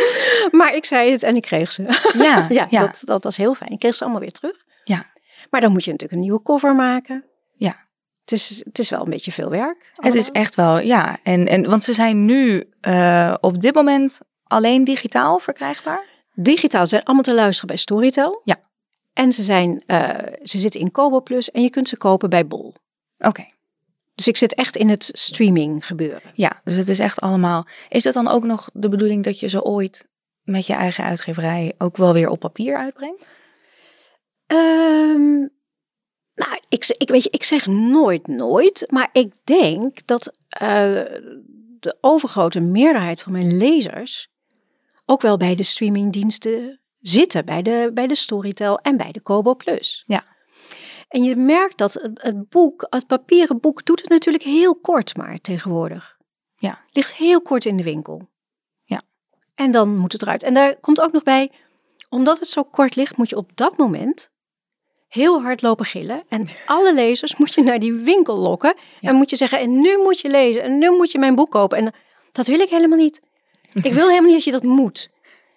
*laughs* maar ik zei het en ik kreeg ze. ja, *laughs* Ja, ja. Dat, dat was heel fijn. Ik kreeg ze allemaal weer terug. Ja. Maar dan moet je natuurlijk een nieuwe cover maken. Ja. Het is, het is wel een beetje veel werk. het is echt wel, ja. En, en, want ze zijn nu eh, op dit moment alleen digitaal verkrijgbaar. Digitaal zijn allemaal te luisteren bij Storytel. Ja. En ze, zijn, eh, ze zitten in Kobo Plus en je kunt ze kopen bij Bol. Oké. Dus ik zit echt in het streaming gebeuren. Ja, dus het is echt allemaal. Is het dan ook nog de bedoeling dat je ze ooit met je eigen *laughs* uitgeverij ook wel weer op papier uitbrengt? Ehm, Nou, ik, ik, weet je, ik zeg nooit nooit, maar ik denk dat eh, de overgrote meerderheid van mijn lezers ook wel bij de streamingdiensten zitten, bij de, bij de Storytel en bij de Kobo Plus. Ja. En je merkt dat het, het boek, het papieren boek, doet het natuurlijk heel kort maar tegenwoordig. Ja. Ligt heel kort in de winkel. Ja. En dan moet het eruit. En daar komt ook nog bij, omdat het zo kort ligt, moet je op dat moment heel hard lopen gillen. En alle lezers moet je naar die winkel lokken. Ja. En moet je zeggen, en nu moet je lezen. En nu moet je mijn boek kopen. En dat wil ik helemaal *laughs* niet. Ik wil helemaal niet dat je dat moet.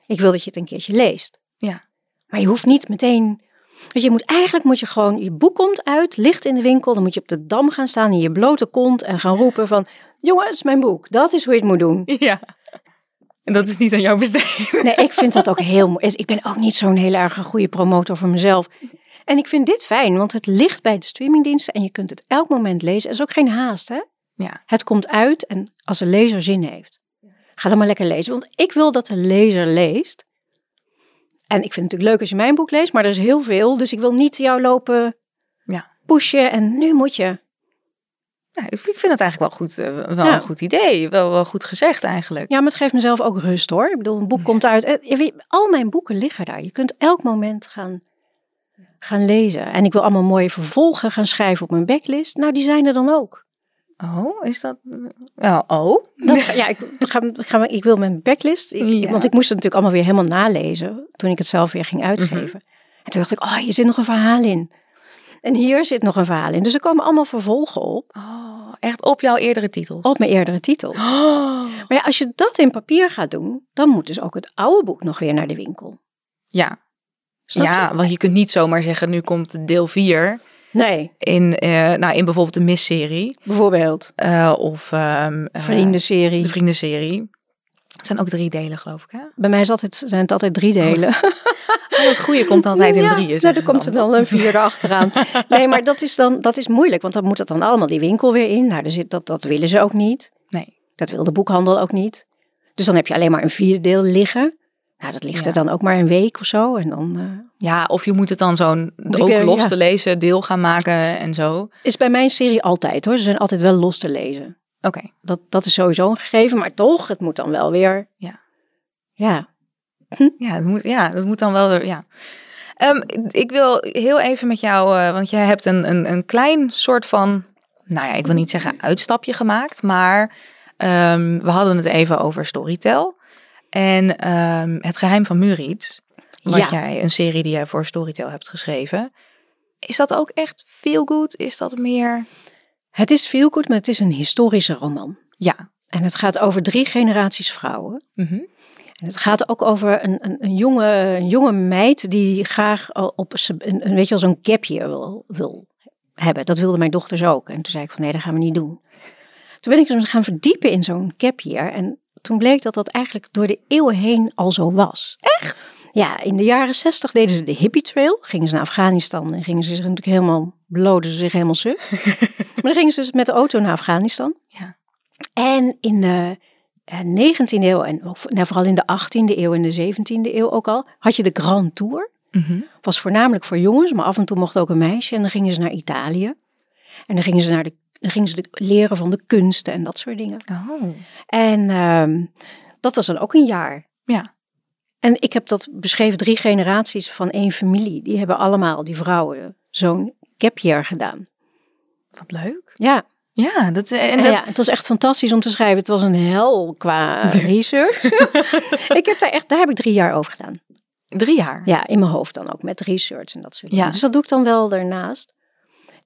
Ik wil dat je het een keertje leest. Ja. Maar je hoeft niet meteen... Dus je moet eigenlijk moet je gewoon... Je boek komt uit, ligt in de winkel. Dan moet je op de dam gaan staan in je blote kont. En gaan roepen van... Jongens, mijn boek. Dat is hoe je het moet doen. Ja. En dat is niet aan jou besteed. Nee, ik vind dat ook heel mooi. Ik ben ook niet zo'n heel erg goede promotor voor mezelf. En ik vind dit fijn, want het ligt bij de streamingdiensten en je kunt het elk moment lezen. Er is ook geen haast, hè? Ja. Het komt uit en als de lezer zin heeft, ga dan maar lekker lezen. Want ik wil dat de lezer leest. En ik vind het natuurlijk leuk als je mijn boek leest, maar er is heel veel. Dus ik wil niet jou lopen Ja. pushen en nu moet je. Nou, ik vind het eigenlijk wel, goed, eh, wel Ja. een goed idee. Wel, wel goed gezegd eigenlijk. Ja, maar het geeft mezelf ook rust hoor. Ik bedoel, een boek komt uit. eh, je weet, Al mijn boeken liggen daar. Je kunt elk moment gaan, gaan lezen. En ik wil allemaal mooie vervolgen gaan schrijven op mijn backlist. Nou, die zijn er dan ook. Oh, is dat... Wel, oh? Dat, ja, ik, ga, ga, maar- ik wil mijn backlist. ik- Ja. Mhm. Want ik moest het natuurlijk allemaal weer helemaal nalezen. Toen ik het zelf weer ging uitgeven. En toen dacht ik, oh, hier zit nog een verhaal in. En hier zit nog een verhaal in. Dus er komen allemaal vervolgen op. Oh, echt op jouw eerdere titel. Op mijn eerdere titel. Oh. Maar ja, als je dat in papier gaat doen, dan moet dus ook het oude boek nog weer naar de winkel. *gasps* Ja. Snap ja, je? want je kunt niet zomaar zeggen, nu komt deel 4 Nee, in, eh, nou, in bijvoorbeeld de misserie Bijvoorbeeld. eh, of ehm, eh, Vriendenserie. de vriendenserie. Het zijn ook drie delen, geloof ik, hè? Bij mij is het altijd, zijn het altijd drie delen. Al het goede komt *laughs* altijd *laughs* in Ja, drieën. Nou, zeggen dan ze komt er dan een *laughs* vierde achteraan. Nee, maar dat is dan dat is moeilijk, want dan moet dat dan allemaal die winkel weer in. Nou, daar zit, dat, dat willen ze ook niet. Nee. Dat wil de boekhandel ook niet. Dus dan heb je alleen maar een vierde deel liggen. Nou, dat ligt Ja. er dan ook maar een week of zo. En dan eh, Ja, of je moet het dan zo'n Die ook keer, los eh, ja. te lezen deel gaan maken en zo. Oké. is bij mijn serie altijd hoor. Ze zijn altijd wel los te lezen. Dat, dat is sowieso een gegeven, maar toch, het moet dan wel weer. Ja. Ja. Ja, dat moet, ja, dat moet dan wel. er- Ja. Ehm, ik wil heel even met jou, eh, want jij hebt een, een, een klein soort van, nou ja, ik wil niet zeggen uitstapje gemaakt, maar ehm, we hadden het even over Storytel en ehm, het geheim van Muriets. Wat Ja. jij, een serie die jij voor Storytel hebt geschreven. Is dat ook echt feel good? Is dat meer? Het is veel goed, maar het is een historische roman. Ja. En het gaat over drie generaties vrouwen. Mhm. En het gaat ook over een, een, een, jonge, een jonge meid die graag al op z'n- een, een, weet je, wel, zo'n gapje wil, wil hebben. Dat wilden mijn dochters ook. En toen zei ik van nee, dat gaan we niet doen. Toen ben ik eens gaan verdiepen in zo'n gapje. En toen bleek dat dat eigenlijk door de eeuwen heen al zo was. Echt? Ja, in de jaren zestig deden ze de hippie trail. Gingen ze naar Afghanistan en gingen ze zich natuurlijk helemaal, bloden ze zich helemaal suf. maar dan gingen ze dus met de auto naar Afghanistan. Ja. En in de eh, 19e eeuw en ook, nou, vooral in de 18e eeuw en de 17e eeuw ook al, had je de Grand Tour. Mhm. Was voornamelijk voor jongens, maar af en toe mocht ook een meisje. En dan gingen ze naar Italië. En dan gingen ze, naar de, dan gingen ze de, leren van de kunsten en dat soort dingen. Oh. En ehm, dat was dan ook een jaar. Ja. En ik heb dat beschreven, drie generaties van één familie. Die hebben allemaal, die vrouwen, zo'n gap year gedaan. Wat leuk. Ja, Ja, dat, eh, en en dat, Ah ja, het was echt fantastisch om te schrijven. Het was een hel qua research. ik heb daar echt, daar heb ik drie jaar over gedaan. drie jaar. Ja, in mijn hoofd dan ook, met research en dat soort Ja. dingen. Dus dat doe ik dan wel daarnaast.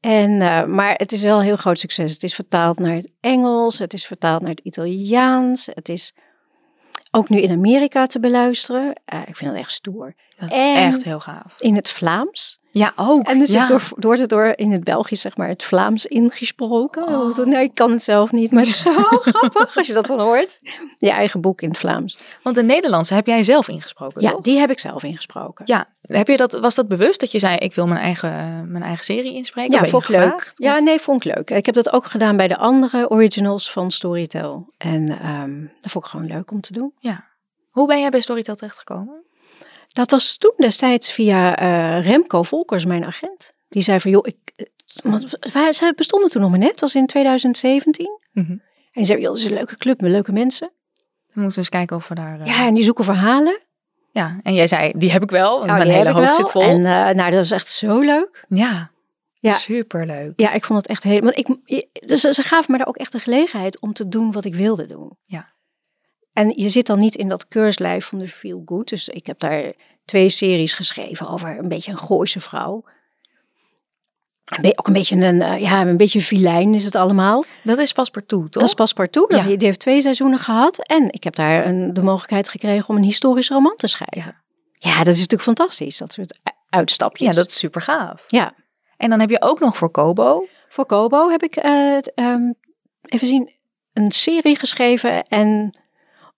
En, eh, maar het is wel een heel groot succes. Het is vertaald naar het Engels, het is vertaald naar het Italiaans. Het is ook nu in Amerika te beluisteren. Eh, ik vind dat echt stoer. Dat is En- echt heel gaaf. In het Vlaams. Ja, ook. En dus ja. het door, wordt het door in het Belgisch, zeg maar, het Vlaams ingesproken. Oh. Nee, ik kan het zelf niet, maar het is zo grappig als je dat dan hoort. Je eigen boek in het Vlaams. Want de Nederlandse heb jij zelf ingesproken, Ja, toch? die heb ik zelf ingesproken. Ja, heb je dat, was dat bewust dat je zei, ik wil mijn eigen, eh, mijn eigen serie inspreken? Ja, Ben je vond ik leuk. gevraagd? Ja, nee, vond ik leuk. Ik heb dat ook gedaan bij de andere originals van Storytel. En ehm, dat vond ik gewoon leuk om te doen. Hoe ben jij bij Storytel terechtgekomen? Dat was toen destijds via eh, Remco Volkers, mijn agent. Die zei van, joh, ik, eh, want wij- ze bestonden toen nog maar net, het was in 2017. Mhm. En die zei, joh, dat is een leuke club met leuke mensen. We moeten eens kijken of we daar... eh, Ja, en die zoeken verhalen. ja. En jij zei, die heb ik wel. Want Nou, Oh, mijn die hele heb ik hoofd wel. zit vol. En eh, nou, dat was echt zo leuk. Ja. Ja. Superleuk. Ja, ik vond het echt heel... Want ik, dus ze gaven me daar ook echt de gelegenheid om te doen wat ik wilde doen. Ja. En je zit dan niet in dat keurslijf van de Feel Good. Dus ik heb daar twee series geschreven over een beetje een Gooise vrouw. Een be- ook een beetje een, eh, ja, een beetje filijn is het allemaal. Dat is pas partout, toch? Dat is Paspartout. Dat Ja. Die heeft twee seizoenen gehad. En ik heb daar een, de mogelijkheid gekregen om een historisch roman te schrijven. Ja, dat is natuurlijk fantastisch. Dat soort u- uitstapjes. ja, dat is super gaaf. Ja. En dan heb je ook nog voor Kobo. Voor Kobo heb ik, eh, t- ehm, even zien, een serie geschreven en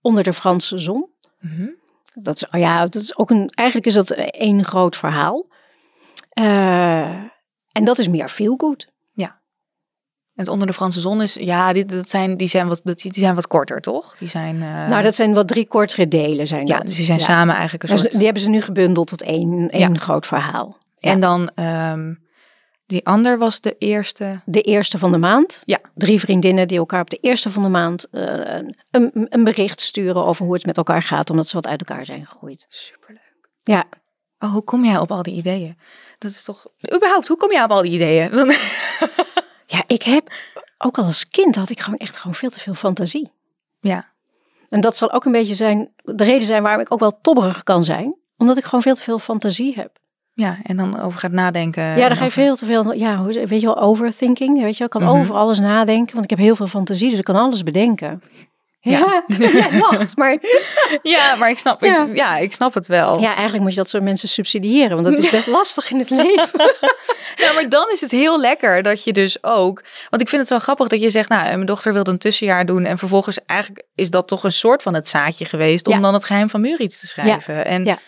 Onder de Franse Zon. Mhm. Dat is, oh ja, dat is ook een, eigenlijk is dat één groot verhaal. Eh, en dat is meer feel good. En het onder de Franse zon is, ja, dit, dat zijn, die, zijn wat, dat- die zijn wat korter, toch? Die zijn, eh, nou, dat zijn wat drie kortere delen zijn ja, dat. dus die zijn Ja. samen eigenlijk een Dus soort. Die hebben ze nu gebundeld tot één, één groot verhaal. ja. En dan ehm, die ander was de eerste. De eerste van de maand. Ja. Drie vriendinnen die elkaar op de eerste van de maand eh, een, een bericht sturen over hoe het met elkaar gaat, omdat ze wat uit elkaar zijn gegroeid. Superleuk. Ja, Oh, hoe kom jij op al die ideeën? Dat is toch. Überhaupt, hoe kom jij op al die ideeën? *laughs* Ja, ik heb ook al als kind had ik gewoon echt gewoon veel te veel fantasie. ja. En dat zal ook een beetje zijn, de reden zijn waarom ik ook wel tobberig kan zijn. Omdat ik gewoon veel te veel fantasie heb. ja, en dan over gaat nadenken. ja, en dan ga je over- veel te veel, ja, hoe is- weet je wel, overthinking. Weet je wel, ik kan Mhm. over alles nadenken, want ik heb heel veel fantasie, dus ik kan alles bedenken. *laughs* Ja. jij lacht, maar... Ja, maar ik snap, Ja. Ik, ja, ik snap het wel. Ja, eigenlijk moet je dat soort mensen subsidiëren, want dat is best lastig *laughs* in het leven. Ja, maar dan is het heel lekker dat je dus ook. Want ik vind het zo grappig dat je zegt, nou, mijn dochter wilde een tussenjaar doen. En vervolgens eigenlijk is dat toch een soort van het zaadje geweest om Ja. dan het geheim van Muriets te schrijven. En Ja.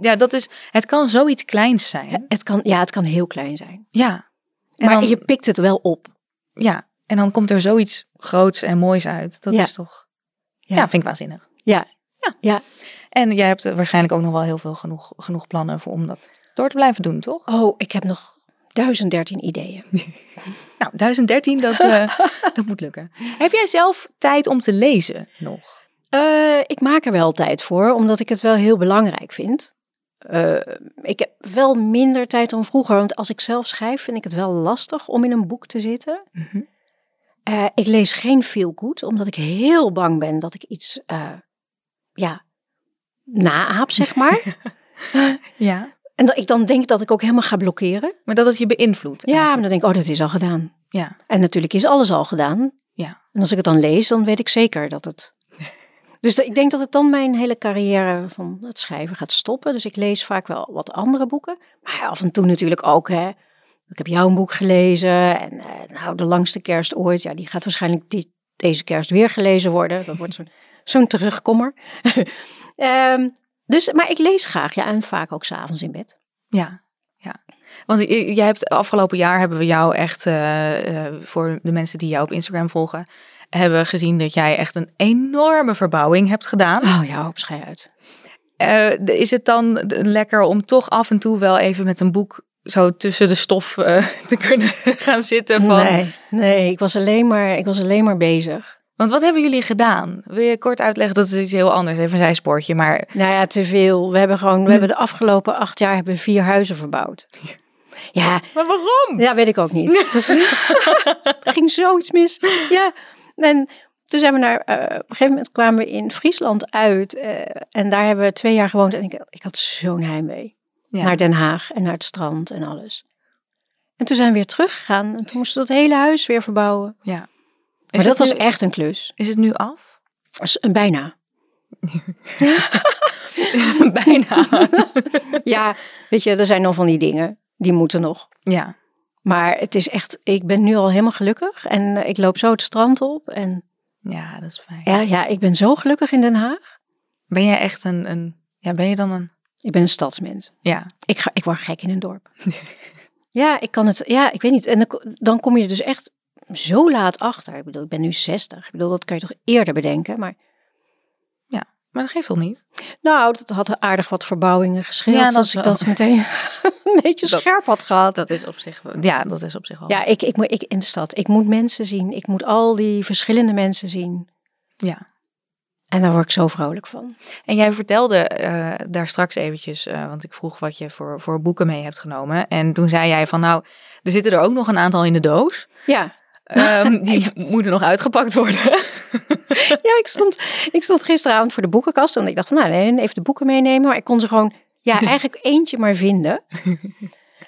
ja. dat is, het kan zoiets kleins zijn. Het kan, ja, het kan heel klein zijn. Ja. En Maar dan, je pikt het wel op. ja. En dan komt er zoiets groots en moois uit. Dat Ja. is toch. Ja. Ja. vind ik waanzinnig. Ja. ja. Ja. En jij hebt eh, waarschijnlijk ook nog wel heel veel genoeg, genoeg plannen voor om dat door te blijven doen, toch? Oh, ik heb nog 1013 ideeën. Nou, 1013, dat, eh, dat moet lukken. Heb jij zelf tijd om te lezen nog? Eh, ik maak er wel tijd voor, omdat ik het wel heel belangrijk vind. Eh, ik heb wel minder tijd dan vroeger, want als ik zelf schrijf, vind ik het wel lastig om in een boek te zitten. Mhm. Eh, ik lees geen veel goed, omdat ik heel bang ben dat ik iets, eh, ja, naaap, zeg maar. Ja. en dat ik dan denk dat ik ook helemaal ga blokkeren. Maar dat het je beïnvloedt. Ja, maar eigenlijk. dan denk ik, oh, dat is al gedaan. Ja. En natuurlijk is alles al gedaan. Ja. En als ik het dan lees, dan weet ik zeker dat het. Dus dat- ik denk dat het dan mijn hele carrière van het schrijven gaat stoppen. Dus ik lees vaak wel wat andere boeken. Maar ja, af en toe natuurlijk ook. Hè. Ik heb jouw boek gelezen. En eh, nou, De Langste Kerst Ooit. Ja, die gaat waarschijnlijk die, deze kerst weer gelezen worden. Dat wordt zo'n *laughs* zo'n terugkommer. *laughs* Ehm, dus, maar ik lees graag. Ja, en vaak ook s'avonds in bed. Ja. ja. Want j- jij hebt afgelopen jaar hebben we jou echt, eh, eh, voor de mensen die jou op Instagram volgen, hebben we gezien dat jij echt een enorme verbouwing hebt gedaan. Oh ja, op schei uit. Eh, d- is het dan d- lekker om toch af en toe wel even met een boek zo tussen de stof eh, *laughs* te kunnen gaan zitten? Van... Nee, nee ik, was alleen maar, ik was alleen maar bezig. Want wat hebben jullie gedaan? Wil je kort uitleggen? Dat is iets heel anders, even een zijspoortje. Maar Nou ja, te veel. We hebben Hm. gewoon, we hebben de afgelopen acht jaar hebben we vier huizen verbouwd. Ja, Maar waarom? ja, weet ik ook *laughs* niet. Het is- Er ging zoiets mis. Ja, en toen zijn we naar, eh, op een gegeven moment kwamen we in Friesland uit. eh, en daar hebben we twee jaar gewoond. En ik, ik had zo'n heimwee. Ja. Naar Den Haag en naar het strand en alles. En toen zijn we weer teruggegaan. En toen moesten we dat hele huis weer verbouwen. Maar Is, dat dat was nu, echt een klus. is het nu af? *laughs* S- Bijna. Bijna. Ja, weet je, er zijn nog van die dingen. Die moeten nog. ja. Maar het is echt, ik ben nu al helemaal gelukkig en eh, ik loop zo het strand op. En ja, dat is fijn. ja, ja, ik ben zo gelukkig in Den Haag. Ben jij echt een, een... Ja, ben je dan een... Ik ben een stadsmens. Ja. Ik, ga, ik word gek in een *laughs* dorp. ja, ik kan het, ja, ik weet niet. En dan, ko- dan kom je er dus echt zo laat achter. Ik bedoel, ik ben nu 60. Ik bedoel, dat kan je toch eerder bedenken. Maar Maar dat geeft toch niet? nou, dat had aardig wat verbouwingen gescheeld. Ja, Ja, dat als ik wel. dat meteen. *laughs* een beetje Dat- scherp had gehad. Dat is op zich, ja, dat is op zich wel. ja, ik, ik, moet- ik in de stad. Ik moet mensen zien. Ik moet al die verschillende mensen zien. Ja. En daar word ik zo vrolijk van. En jij vertelde eh, daar straks eventjes, eh, want ik vroeg wat je voor, voor boeken mee hebt genomen. En toen zei jij van nou, er zitten er ook nog een aantal in de doos. *laughs* Ja, Ehm, die moeten nog uitgepakt worden. *laughs* ja ik, stond, ik stond gisteravond voor de boekenkast. En ik dacht, van, nou nee, even de boeken meenemen. Maar ik kon ze gewoon, *laughs* ja, eigenlijk eentje maar vinden.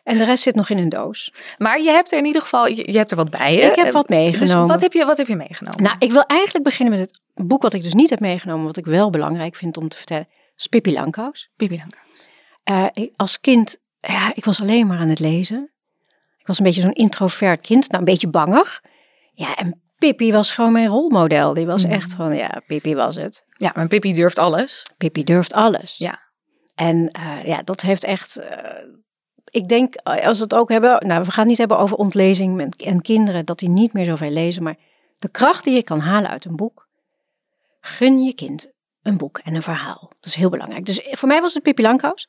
En de rest zit nog in een doos. maar je hebt er in ieder geval, je, je hebt er wat bij je. Ik heb wat Dus meegenomen. wat heb je, wat heb je meegenomen? Nou, ik wil eigenlijk beginnen met het boek wat ik dus niet heb meegenomen. Wat ik wel belangrijk vind om te vertellen. is Pippi Langkous. Bibi Lanka. Eh, ik- als kind, ja, ik was alleen maar aan het lezen. Ik was een beetje zo'n introvert kind, nou een beetje bangig. Ja, en Pippi was gewoon mijn rolmodel. Die was Mm. echt van, ja, Pippi was het. Ja, maar Pippi durft alles. Pippi durft alles. Ja. En eh, ja, dat heeft echt, eh, ik denk, eh, als we het ook hebben, nou, we gaan het niet hebben over ontlezing met- en kinderen, dat die niet meer zoveel lezen, maar de kracht die je kan halen uit een boek, gun je kind een boek en een verhaal. Dat is heel belangrijk. Dus voor mij was het Pippi Langkous.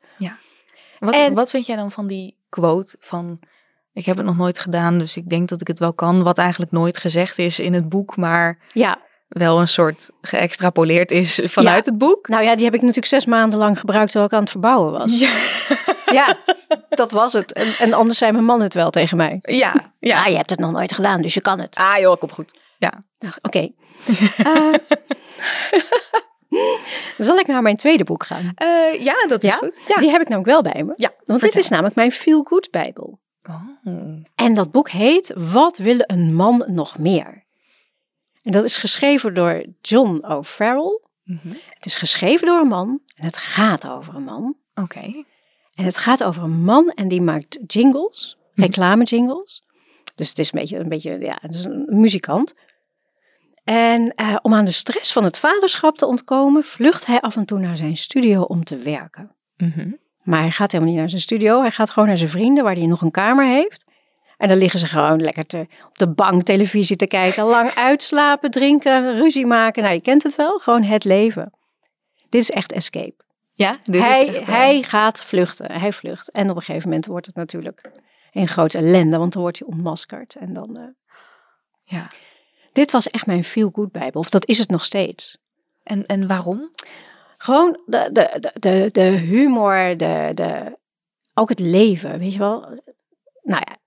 Wat, En- wat vind jij dan van die quote van... Ik heb het nog nooit gedaan, dus ik denk dat ik het wel kan. Wat eigenlijk nooit gezegd is in het boek, maar Ja, wel een soort geëxtrapoleerd is vanuit het boek. Nou ja, die heb ik natuurlijk zes maanden lang gebruikt terwijl ik aan het verbouwen was. *laughs* Ja, dat was het. En, en anders zei mijn man het wel tegen mij. Ja, Ja, Ah, ja. je hebt het nog nooit gedaan, dus je kan het. Ah joh, kom goed. Nou, Oké. Eh, *laughs* zal ik naar mijn tweede boek gaan? Eh, ja, dat is Ja? goed. Ja. Die heb ik namelijk wel bij me. Ja, Want dit is namelijk mijn Feel Good Bijbel. Oh. En dat boek heet Wat wil een man nog meer? En dat is geschreven door John O'Farrell. Mhm. Het is geschreven door een man en het gaat over een man. Oké. En het gaat over een man en die maakt jingles, reclame jingles. Dus het is een beetje een, beetje, ja, het is een muzikant. En eh, om aan de stress van het vaderschap te ontkomen, vlucht hij af en toe naar zijn studio om te werken. Mhm. Maar hij gaat helemaal niet naar zijn studio, hij gaat gewoon naar zijn vrienden waar hij nog een kamer heeft. En dan liggen ze gewoon lekker te, op de bank televisie te kijken, lang uitslapen, drinken, ruzie maken. Nou, je kent het wel, gewoon het leven. Dit is echt escape Ja, dit hij, is echt, eh, hij gaat vluchten. Hij vlucht. En op een gegeven moment wordt het natuurlijk een grote ellende, want dan wordt hij ontmaskerd. En dan, eh, Ja. Dit was echt mijn feel-good Bijbel, of dat is het nog steeds. En, en waarom? Gewoon de, de, de- de, de humor, de, de, ook het leven, weet je wel. Nou ja,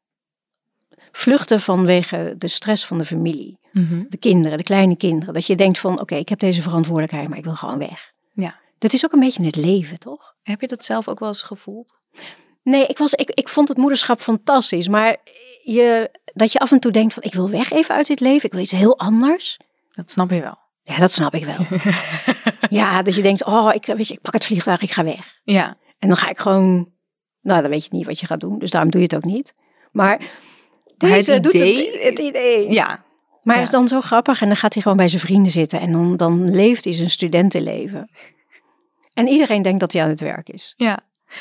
vluchten vanwege de stress van de familie, Mhm. de kinderen, de kleine kinderen. Dat je denkt van, oké, ik heb deze verantwoordelijkheid, maar ik wil gewoon weg. Ja. Dat is ook een beetje het leven, toch? Heb je dat zelf ook wel eens gevoeld? Nee, ik, was, ik, ik vond het moederschap fantastisch. Maar je, dat je af en toe denkt van ik wil weg even uit dit leven. Ik wil iets heel anders. Dat snap je wel. Ja, dat snap ik *laughs* wel. ja, dat je denkt, oh, ik, weet je, ik pak het vliegtuig, ik ga weg. Ja. En dan ga ik gewoon, nou dan weet je niet wat je gaat doen. Dus daarom doe je het ook niet. Maar deze het doet idee- het, het idee. Ja. maar ja. het is dan zo grappig. En dan gaat hij gewoon bij zijn vrienden zitten. En dan, dan leeft hij zijn studentenleven. En iedereen denkt dat hij aan het werk is. Ja.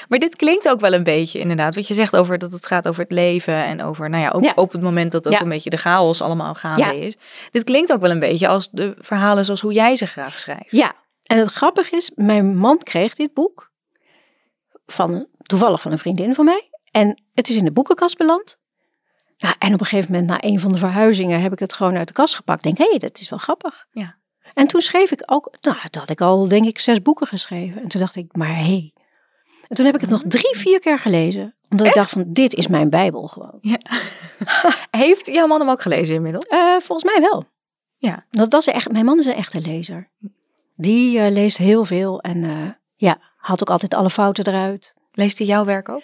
Maar dit klinkt ook wel een beetje inderdaad. Wat je zegt over dat het gaat over het leven en over, nou ja, ook Ja. op het moment dat ook Ja. een beetje de chaos allemaal gaande Ja. is. Dit klinkt ook wel een beetje als de verhalen zoals hoe jij ze graag schrijft. Ja, en het grappige is, mijn man kreeg dit boek van toevallig van een vriendin van mij. En het is in de boekenkast beland. Nou, en op een gegeven moment, na een van de verhuizingen, heb ik het gewoon uit de kast gepakt. Denk, hé, hey, dat is wel grappig. Ja. En toen schreef ik ook, nou, toen had ik al, denk ik, zes boeken geschreven. En toen dacht ik, maar hé. Hey. En toen heb ik het nog drie, vier keer gelezen. Omdat ik dacht van, dit is mijn Bijbel gewoon. Heeft jouw man hem ook gelezen inmiddels? Eh, volgens mij wel. Ja. Dat, dat is echt, mijn man is een echte lezer. Die eh, leest heel veel en eh, ja, haalt ook altijd alle fouten eruit. Leest hij jouw werk ook?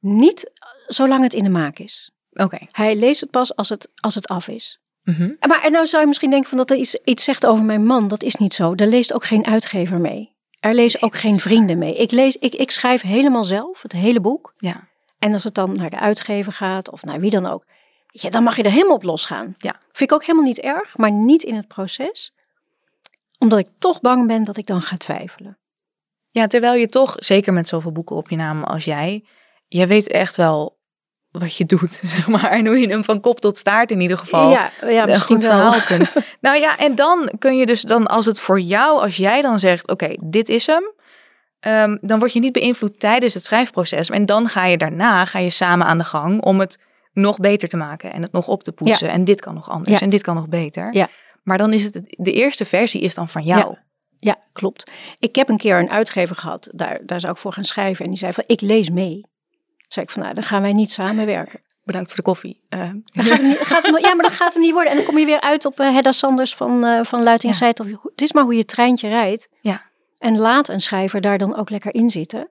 Niet eh, zolang het in de maak is. Oké. Hij leest het pas als het, als het af is. Mhm. Maar en nou zou je misschien denken van dat er iets, iets zegt over mijn man. Dat is niet zo. Daar leest ook geen uitgever mee. Er lezen ook dat geen is waar. vrienden mee. Ik, lees, ik, ik schrijf helemaal zelf het hele boek. Ja. En als het dan naar de uitgever gaat of naar wie dan ook, ja, dan mag je er helemaal op losgaan. Ja. Vind ik ook helemaal niet erg, maar niet in het proces. Omdat ik toch bang ben dat ik dan ga twijfelen. Ja, terwijl je toch, zeker met zoveel boeken op je naam als jij, jij weet echt wel wat je doet, *laughs* zeg maar. En hoe je hem van kop tot staart in ieder geval ja, ja, een misschien goed wel. verhaal kunt. Nou ja, en dan kun je dus dan, als het voor jou, als jij dan zegt, oké, dit is hem. ehm, dan word je niet beïnvloed tijdens het schrijfproces. En dan ga je daarna, ga je samen aan de gang om het nog beter te maken en het nog op te poetsen. En dit kan nog anders Ja. en dit kan nog beter. Ja. Maar dan is het, de eerste versie is dan van jou. *laughs* Ja, klopt. Ik heb een keer een uitgever gehad, daar, daar zou ik voor gaan schrijven. En die zei van, ik lees mee. Toen zei ik van, nou, dan gaan wij niet samenwerken. Bedankt voor de koffie. Eh, Dat gaat hem niet, gaat hem, ja, maar dat gaat hem niet worden. En dan kom je weer uit op eh, Hedda Sanders van, eh van Luiting Ja. Zijt. Of, je- het is maar hoe je treintje rijdt. Ja. En laat een schrijver daar dan ook lekker in zitten.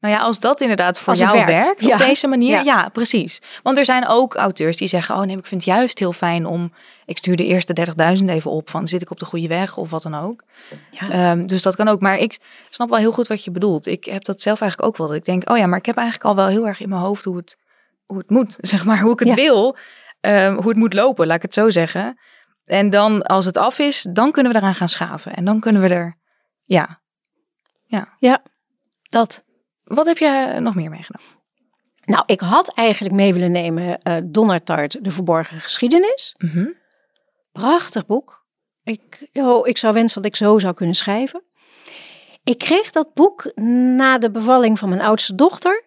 Nou ja, als dat inderdaad voor Als het jou werkt, werkt, ja. op deze manier, Ja. ja. precies. Want er zijn ook auteurs die zeggen, oh nee, ik vind het juist heel fijn om, ik stuur de eerste 30.000 even op, van zit ik op de goede weg of wat dan ook. Ja. Ehm, dus dat kan ook, maar ik snap wel heel goed wat je bedoelt. Ik heb dat zelf eigenlijk ook wel, dat ik denk, oh ja, maar ik heb eigenlijk al wel heel erg in mijn hoofd hoe het, hoe het moet, *laughs* zeg maar, hoe ik het Ja. wil, ehm, hoe het moet lopen, laat ik het zo zeggen. En dan, als het af is, dan kunnen we eraan gaan schaven en dan kunnen we er, ja. Dat. Wat heb je nog meer meegenomen? Nou, ik had eigenlijk mee willen nemen eh Donnertart, de verborgen geschiedenis. Mhm. Prachtig boek. Ik, oh, ik zou wensen dat ik zo zou kunnen schrijven. Ik kreeg dat boek na de bevalling van mijn oudste dochter.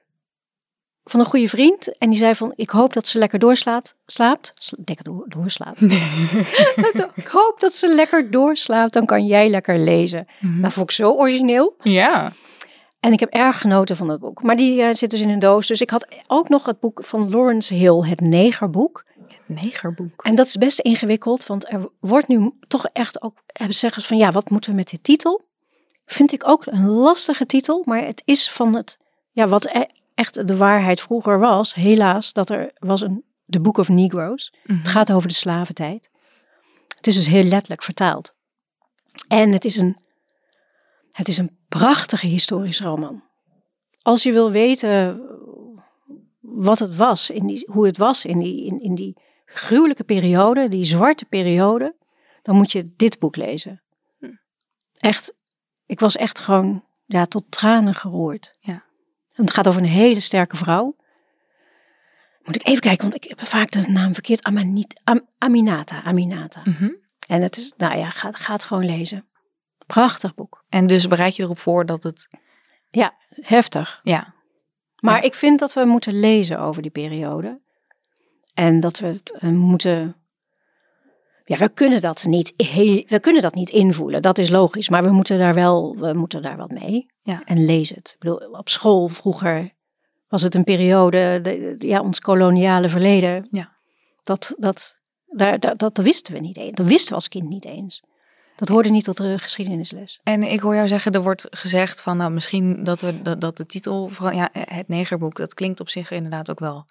Van een goede vriend. En die zei van, ik hoop dat ze lekker doorslaat, slaapt. Sla- Lekker door, doorslaat. ik hoop dat ze lekker doorslaapt, dan kan jij lekker lezen. Mhm. Dat vond ik zo origineel. Ja. En ik heb erg genoten van dat boek. Maar die eh, zit dus in een doos. Dus ik had ook nog het boek van Lawrence Hill, het negerboek. Negerboek. En dat is best ingewikkeld, want er wordt nu toch echt ook hebben zeggen ze van ja, wat moeten we met dit titel? Vind ik ook een lastige titel, maar het is van het ja, wat e- echt de waarheid vroeger was, helaas dat er was een The Book of Negroes. Mhm. Het gaat over de slaventijd. Het is dus heel letterlijk vertaald. En het is een het is een prachtige historische roman. Als je wil weten wat het was, in die, hoe het was in die, in, in die gruwelijke periode, die zwarte periode, dan moet je dit boek lezen. Hm. Echt, ik was echt gewoon ja, tot tranen geroerd. Ja. En het gaat over een hele sterke vrouw. Moet ik even kijken, want ik heb vaak de naam verkeerd. Amanit, Am- Aminata, Hm. Aminata. Mhm. En het is, nou ja, ga, ga het gewoon lezen. Prachtig boek. En dus bereid je erop voor dat het... Heftig. Ja. Maar Ja. ik vind dat we moeten lezen over die periode. En dat we het eh, moeten. Ja, we kunnen dat niet. heel- We kunnen dat niet invoelen. Dat is logisch. Maar we moeten daar wel. We moeten daar wat mee. Ja. En lees het. Ik bedoel, op school vroeger was het een periode. de- de- ja, ons koloniale verleden. Ja. Dat, dat, daar, dat, dat wisten we niet eens. Dat wisten we als kind niet eens. Dat hoorde niet tot de geschiedenisles. En ik hoor jou zeggen, er wordt gezegd van nou misschien dat, we, dat, dat de titel... Van, ja, het negerboek, dat klinkt op zich inderdaad ook wel.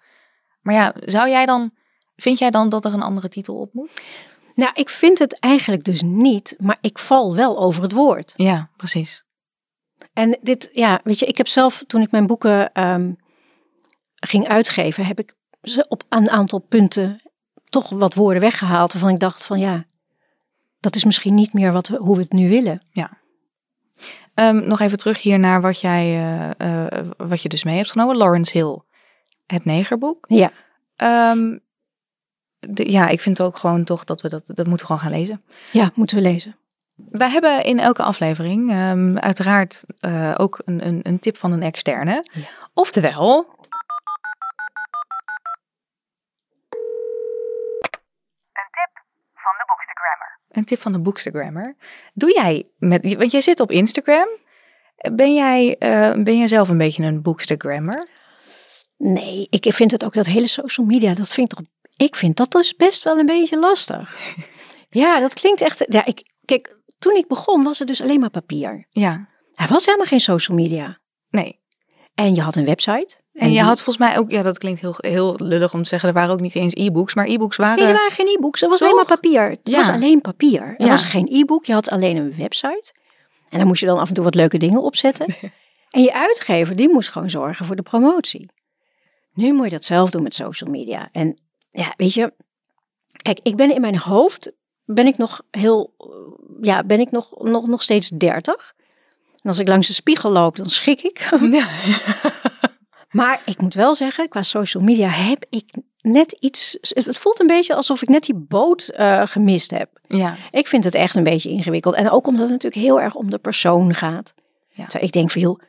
Maar ja, zou jij dan... Vind jij dan dat er een andere titel op moet? Nou, ik vind het eigenlijk dus niet. Maar ik val wel over het woord. Ja, precies. En dit, ja, weet je, ik heb zelf toen ik mijn boeken ehm, ging uitgeven, heb ik ze op een aantal punten toch wat woorden weggehaald waarvan ik dacht van ja, dat is misschien niet meer wat we, hoe we het nu willen. Ehm, nog even terug hier naar wat, jij, eh, eh, wat je dus mee hebt genomen. Lawrence Hill, het negerboek. Ja. Ehm, de- ja, ik vind ook gewoon toch dat we dat... Dat moeten we gewoon gaan lezen. Ja, moeten we lezen. Wij hebben in elke aflevering ehm, uiteraard eh, ook een, een, een tip van een externe. Ja. Oftewel. Een tip van de Bookstagrammer. Doe jij met. Want jij zit op Instagram. Ben jij, eh, ben jij zelf een beetje een Bookstagrammer? Nee, ik vind het ook dat hele social media, dat vind ik toch, ik vind dat dus best wel een beetje *laughs* lastig. ja, dat klinkt echt, ja, ik, kijk, toen ik begon was er dus alleen maar papier. Ja. Er was helemaal geen social media. Nee. En je had een website. En, je die- had volgens mij ook. Ja, dat klinkt heel, heel lullig om te zeggen. Er waren ook niet eens e-books. Maar e-books waren. Nee, *laughs* er waren geen e-books. Er was Toch? alleen maar papier. Het Ja. was alleen papier. Er Ja. was geen e-book. Je had alleen een website. En daar moest je dan af en toe wat leuke dingen *laughs* opzetten. en je uitgever, die moest gewoon zorgen voor de promotie. Nu moet je dat zelf doen met social media. En ja, weet je... Kijk, ik ben in mijn hoofd... Ben ik nog heel... eh, Ja, ben ik nog, nog, nog steeds dertig. En als ik langs de spiegel loop, dan schrik ik. Maar ik moet wel zeggen, qua social media heb ik net iets. Het voelt een beetje alsof ik net die boot eh, gemist heb. Ja. Ik vind het echt een beetje ingewikkeld. En ook omdat het natuurlijk heel erg om de persoon gaat. Ja. Terwijl ik denk van joh,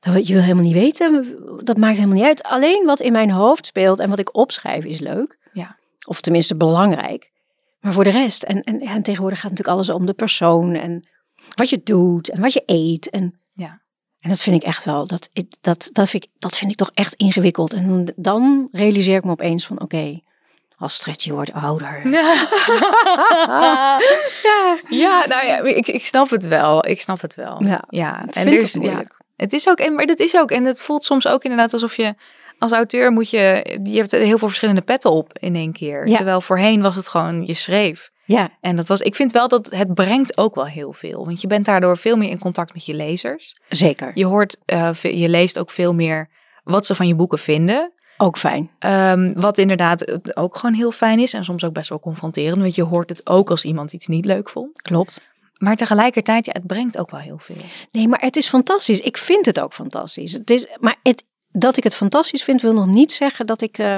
dat wil- je wil helemaal niet weten. Dat maakt helemaal niet uit. Alleen wat in mijn hoofd speelt en wat ik opschrijf is leuk. Ja. Of tenminste belangrijk. Maar voor de rest. En, en, ja, en tegenwoordig gaat natuurlijk alles om de persoon. En wat je doet. En wat je eet. En, Ja. en dat vind ik echt wel. Dat, ik- dat, dat, vind ik, dat vind ik toch echt ingewikkeld. En dan, dan realiseer ik me opeens van oké. als stretchy wordt ouder. Ja. *laughs* ja, nou ja, ik, ik snap het wel. Ik snap het wel. Ja. Ja, vind het er is- ook moeilijk. Ja, het is ook, en- maar dat is ook, en het voelt soms ook inderdaad alsof je als auteur moet je, je hebt heel veel verschillende petten op in één keer. Ja. Terwijl voorheen was het gewoon, je schreef. Ja. En dat was, ik vind wel dat het brengt ook wel heel veel. Want je bent daardoor veel meer in contact met je lezers. Zeker. Je hoort, eh, ve- je leest ook veel meer wat ze van je boeken vinden. Ook fijn. Ehm, wat inderdaad ook gewoon heel fijn is en soms ook best wel confronterend. Want je hoort het ook als iemand iets niet leuk vond. Klopt. Maar tegelijkertijd, ja, het brengt ook wel heel veel. Nee, maar het is fantastisch. Ik vind het ook fantastisch. Het is, maar het, dat ik het fantastisch vind, wil nog niet zeggen dat ik, eh,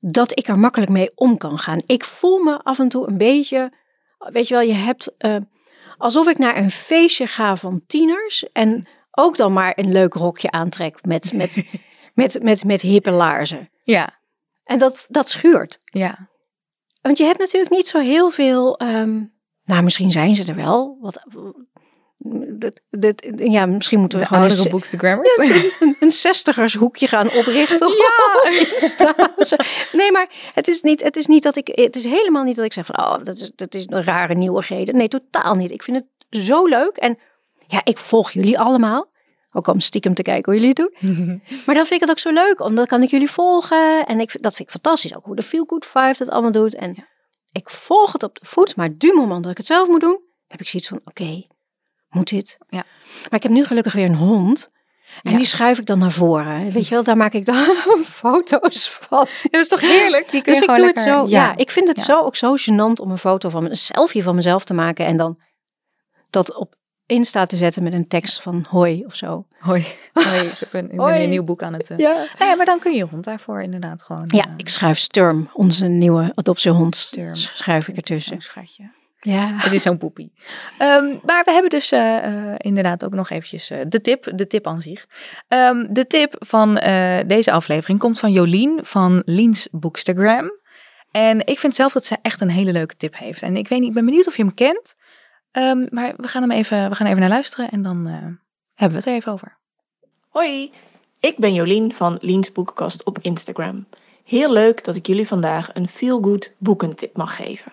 dat ik er makkelijk mee om kan gaan. Ik voel me af en toe een beetje, weet je wel, je hebt eh, alsof ik naar een feestje ga van tieners en ook dan maar een leuk rokje aantrek met, met, met, met, met, hippe laarzen. Ja, En dat, dat schuurt. ja, Want je hebt natuurlijk niet zo heel veel. ehm, nou, misschien zijn ze er wel. Wat, dit, dit, ja, misschien moeten we gewoon een, se- *laughs* boekstagrammers. een, een zestigershoekje gaan oprichten. *laughs* Ja. nee, maar het is, niet, het is niet dat ik. Het is helemaal niet dat ik zeg van. Oh, dat is, dat is een rare nieuwigheden. Nee, totaal niet. Ik vind het zo leuk. En ja, ik volg jullie allemaal. Ook om stiekem te kijken hoe jullie het doen. *laughs* Maar dan vind ik het ook zo leuk, omdat kan ik jullie volgen. En ik, vind- dat vind ik fantastisch, ook hoe de Feel Good Five dat allemaal doet. En ik volg het op de voet, maar du moment dat ik het zelf moet doen, heb ik zoiets van, oké, moet dit? Ja. Maar ik heb nu gelukkig weer een hond. En Ja. die schuif ik dan naar voren. Weet je wel, daar maak ik dan *laughs* foto's van. Dat is toch heerlijk? Die kun Dus ik je doe gewoon het lekker- zo. Ja, ik vind het Ja. zo ook zo gênant om een foto van me- een selfie van mezelf te maken en dan dat op Insta te zetten met een tekst van *laughs* hoi of zo. Hoi. Hoi, ik ben, ik ben Hoi. weer een nieuw boek aan het... eh. Ja. Nou ja, maar dan kun je je hond daarvoor inderdaad gewoon... Ja, eh, ik schuif Sturm, onze nieuwe adoptiehond, Sturm. schuif ik het is ertussen. zo'n schatje. Ja. Het is zo'n poepie. Ehm, maar we hebben dus eh, eh, inderdaad ook nog eventjes eh, de tip, de tip aan zich. Ehm, de tip van eh, deze aflevering komt van Jolien van Liens Bookstagram. En ik vind zelf dat ze echt een hele leuke tip heeft. En ik weet niet, ik ben benieuwd of je hem kent. Ehm, maar we gaan hem even, we gaan even naar luisteren en dan eh, hebben we het er even over. Hoi, ik ben Jolien van Liens Boekenkast op Instagram. Heel leuk dat ik jullie vandaag een feel-good boekentip mag geven.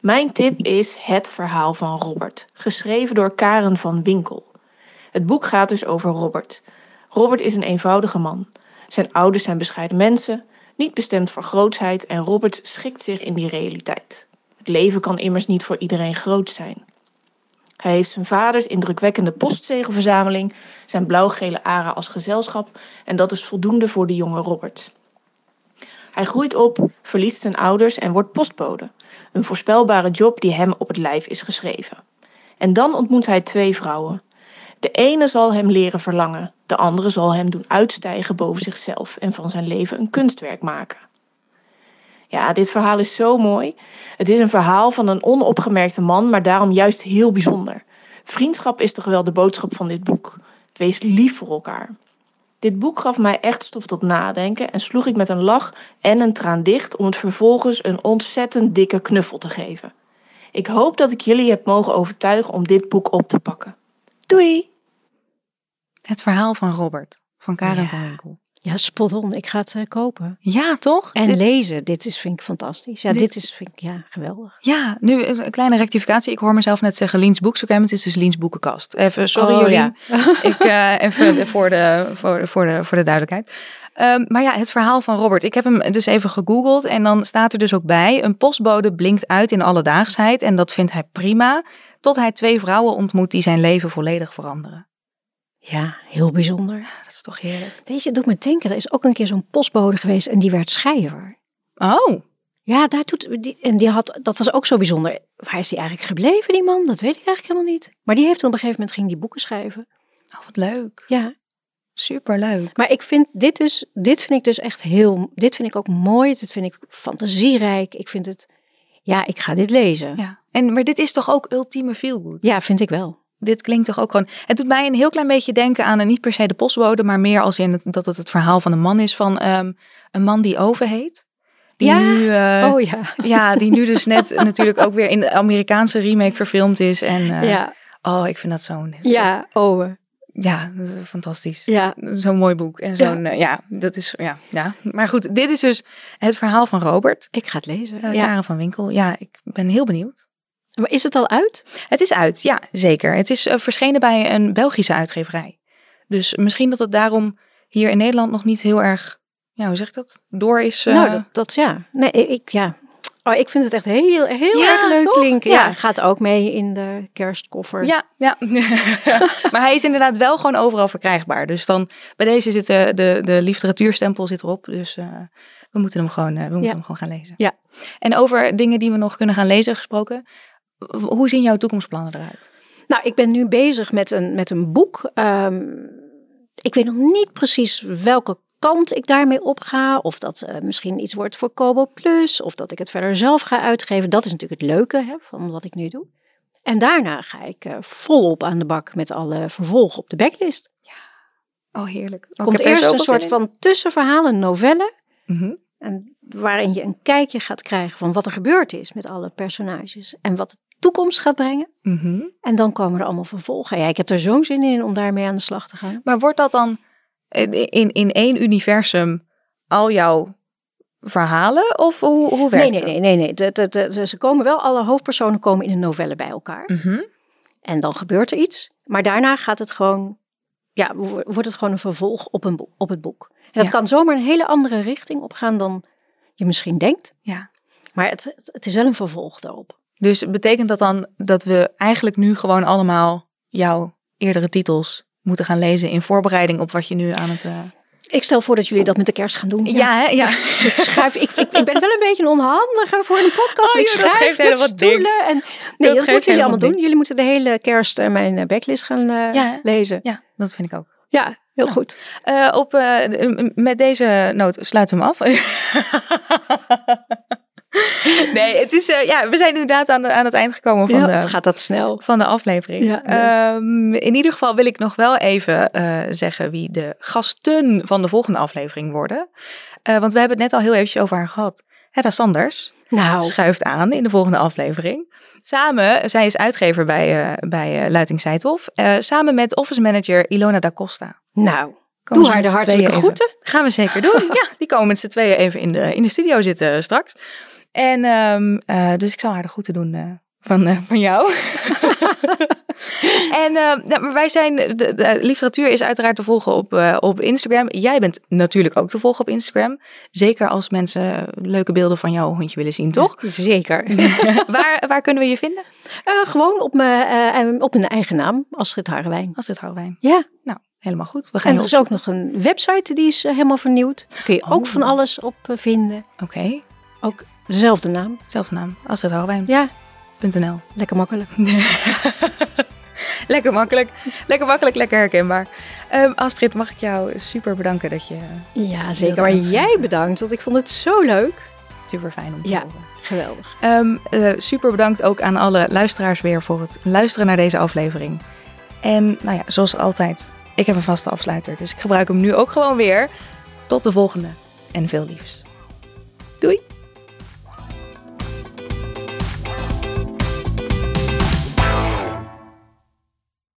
Mijn tip is Het verhaal van Robert, geschreven door Karen van Winkel. Het boek gaat dus over Robert. Robert is een eenvoudige man. Zijn ouders zijn bescheiden mensen, niet bestemd voor grootsheid en Robert schikt zich in die realiteit. Het leven kan immers niet voor iedereen groot zijn. Hij heeft zijn vaders indrukwekkende postzegelverzameling, zijn blauw-gele ara als gezelschap en dat is voldoende voor de jonge Robert. Hij groeit op, verliest zijn ouders en wordt postbode, een voorspelbare job die hem op het lijf is geschreven. En dan ontmoet hij twee vrouwen. De ene zal hem leren verlangen, de andere zal hem doen uitstijgen boven zichzelf en van zijn leven een kunstwerk maken. Ja, dit verhaal is zo mooi. Het is een verhaal van een onopgemerkte man, maar daarom juist heel bijzonder. Vriendschap is toch wel de boodschap van dit boek. Wees lief voor elkaar. Dit boek gaf mij echt stof tot nadenken en sloeg ik met een lach en een traan dicht om het vervolgens een ontzettend dikke knuffel te geven. Ik hoop dat ik jullie heb mogen overtuigen om dit boek op te pakken. Doei! Het verhaal van Robert, van Karen Ja. van Winkel. ja, spot on. Ik ga het eh, kopen. Ja, toch? En Dit- lezen, dit is, vind ik fantastisch. Ja, dit, Dit- is, vind ik, ja, geweldig. Ja, nu een een kleine rectificatie. Ik hoor mezelf net zeggen Liens Boekstagram. Het is dus Liens Boekenkast. Even, sorry Oh, Jolien. ja. *laughs* Ik, eh, even voor de, voor, voor de, voor de duidelijkheid. Ehm, maar ja, het verhaal van Robert. Ik heb hem dus even gegoogeld en dan staat er dus ook bij... een postbode blinkt uit in alledaagsheid en dat vindt hij prima... tot hij twee vrouwen ontmoet die zijn leven volledig veranderen. Ah, Ja, heel bijzonder. Dat is toch heerlijk. Weet je, het doet me denken, er is ook een keer zo'n postbode geweest en die werd schrijver. Oh, Ja, daar doet, die, en die had, dat was ook zo bijzonder. Waar is die eigenlijk gebleven, die man? Dat weet ik eigenlijk helemaal niet. Maar die heeft op een gegeven moment ging die boeken schrijven. oh wat leuk. Ja, Superleuk. maar ik vind dit dus, dit vind ik dus echt heel, dit vind ik ook mooi. Dit vind ik fantasierijk. Ik vind het, ja, ik ga dit lezen. Ja. En, maar dit is toch ook ultieme feelgood? Ja, vind ik wel. dit klinkt toch ook gewoon. Het doet mij een heel klein beetje denken aan eh, niet per se de postbode, maar meer als in het, dat het het verhaal van een man is van ehm, een man die Oven heet. Die Ja. nu, eh, oh ja. *laughs* ja, die nu dus *laughs* net natuurlijk ook weer in de Amerikaanse remake verfilmd is. En eh, ja. oh, ik vind dat zo'n. Ja, Owe. ja, dat is fantastisch. Ja, Zo'n mooi boek. En zo'n, ja. ja, dat is, ja, ja. Maar goed, dit is dus het verhaal van Robert. ik ga het lezen. eh, ja. Karen van Winkel. Ja, ik ben heel benieuwd. Maar is het al uit? Het is uit, ja, zeker. Het is eh, verschenen bij een Belgische uitgeverij. Dus misschien dat het daarom hier in Nederland nog niet heel erg, ja, hoe zeg ik dat? Door is. eh, Nou, dat, dat ja. Nee, ik ja. Oh, ik vind het echt heel, heel Ja, erg leuk toch? klinken. Ja. Ja. gaat ook mee in de kerstkoffer. Ja, ja. *laughs* maar hij is inderdaad wel gewoon overal verkrijgbaar. Dus dan bij deze zit eh, de, de literatuurstempel zit erop. Dus eh, we moeten hem gewoon, eh, we moeten Ja. hem gewoon gaan lezen. Ja. En over dingen die we nog kunnen gaan lezen gesproken. w- Hoe zien jouw toekomstplannen eruit? Nou, ik ben nu bezig met een, met een boek. Ehm, ik weet nog niet precies welke kant ik daarmee op ga. Of dat eh, misschien iets wordt voor Kobo Plus. Of dat ik het verder zelf ga uitgeven. Dat is natuurlijk het leuke hè, van wat ik nu doe. En daarna ga ik eh, volop aan de bak met alle vervolgen op de backlist. Oh, heerlijk. Er komt eerst een soort van tussenverhalen, novellen. Mhm, En waarin je een kijkje gaat krijgen van wat er gebeurd is met alle personages. En wat de toekomst gaat brengen. mhm. En dan komen er allemaal vervolgen. Ja, ik heb er zo'n zin in om daarmee aan de slag te gaan. Maar wordt dat dan in, in, in één universum al jouw verhalen? Of hoe, hoe werkt Nee, nee, nee, nee. nee. De- de- de- de- ze komen wel, alle hoofdpersonen komen in een novelle bij elkaar. dat? Mhm. En dan gebeurt er iets. Maar daarna gaat het gewoon, ja, wo- wordt het gewoon een vervolg op, een boek, op het boek. En dat Ja. kan zomaar een hele andere richting opgaan dan je misschien denkt. Ja. Maar het, het is wel een vervolg daarop. Dus betekent dat dan dat we eigenlijk nu gewoon allemaal jouw eerdere titels moeten gaan lezen in voorbereiding op wat je nu aan het... eh, Ik stel voor dat jullie dat met de kerst gaan doen. hè? Ja. Ik schrijf, ik, ik, ik ben wel een beetje een onhandige voor een podcast. Oh, ik joh, dat schrijf geeft met helemaal niks. stoelen. En, nee, Dat dat, geeft moeten jullie helemaal allemaal doen. niks. Jullie moeten de hele kerst eh, mijn eh, backlist gaan eh, Ja, hè? lezen. *laughs* ja, dat vind ik ook. Ja, heel goed. Eh, op, eh, m- m- met deze noot sluiten we hem af. *laughs* nee, het is, eh, ja, we zijn inderdaad aan, de- aan het eind gekomen van, Ja, de, het gaat dat snel. van de aflevering. Ja, Ehm, in ieder geval wil ik nog wel even eh, zeggen wie de gasten van de volgende aflevering worden. Eh, want we hebben het net al heel eventjes over haar gehad. Hedda Sanders Nou, schuift aan in de volgende aflevering. Samen, zij is uitgever bij, eh, bij eh Luiting Seithof. Eh, samen met office manager Ilona da Costa. nou Komen doe ze haar de met z'n hartelijke tweeën even- groeten. Gaan we zeker doen. *laughs* ja, die komen met z'n tweeën even in de, in de studio zitten eh, straks. En ehm, eh, dus ik zal haar de groeten doen eh, van, eh, van *laughs* jou. en ehm, nou, maar wij zijn, de, de literatuur is uiteraard te volgen op, eh, op Instagram. Jij bent natuurlijk ook te volgen op Instagram. Zeker als mensen eh, leuke beelden van jouw hondje willen zien, toch? Zeker. waar, waar kunnen we je vinden? *laughs* Eh, gewoon op mijn, eh, eh, op mijn eigen naam, Astrid Harrewijn. Als dit Houwijn. Ja, Helemaal goed. We gaan dus en je er is ook nog een website die is eh, helemaal vernieuwd. Daar kun je ook Oh. van alles op eh, vinden. op- Oké, Ook dezelfde naam. zelfde naam. Als dit Ja, Houwijn.nl. lekker makkelijk. Lekker makkelijk. Lekker makkelijk, lekker herkenbaar. Ehm, Astrid, mag ik jou super bedanken dat je eh, Ja, wilde zeker. Maar aanschrijven. jij bedankt, want ik vond het zo leuk. super fijn om te Ja. horen. Geweldig. Ehm, eh, super bedankt ook aan alle luisteraars weer voor het luisteren naar deze aflevering. En nou ja, zoals altijd, ik heb een vaste afsluiter, dus ik gebruik hem nu ook gewoon weer. Tot de volgende en veel liefs. Doei!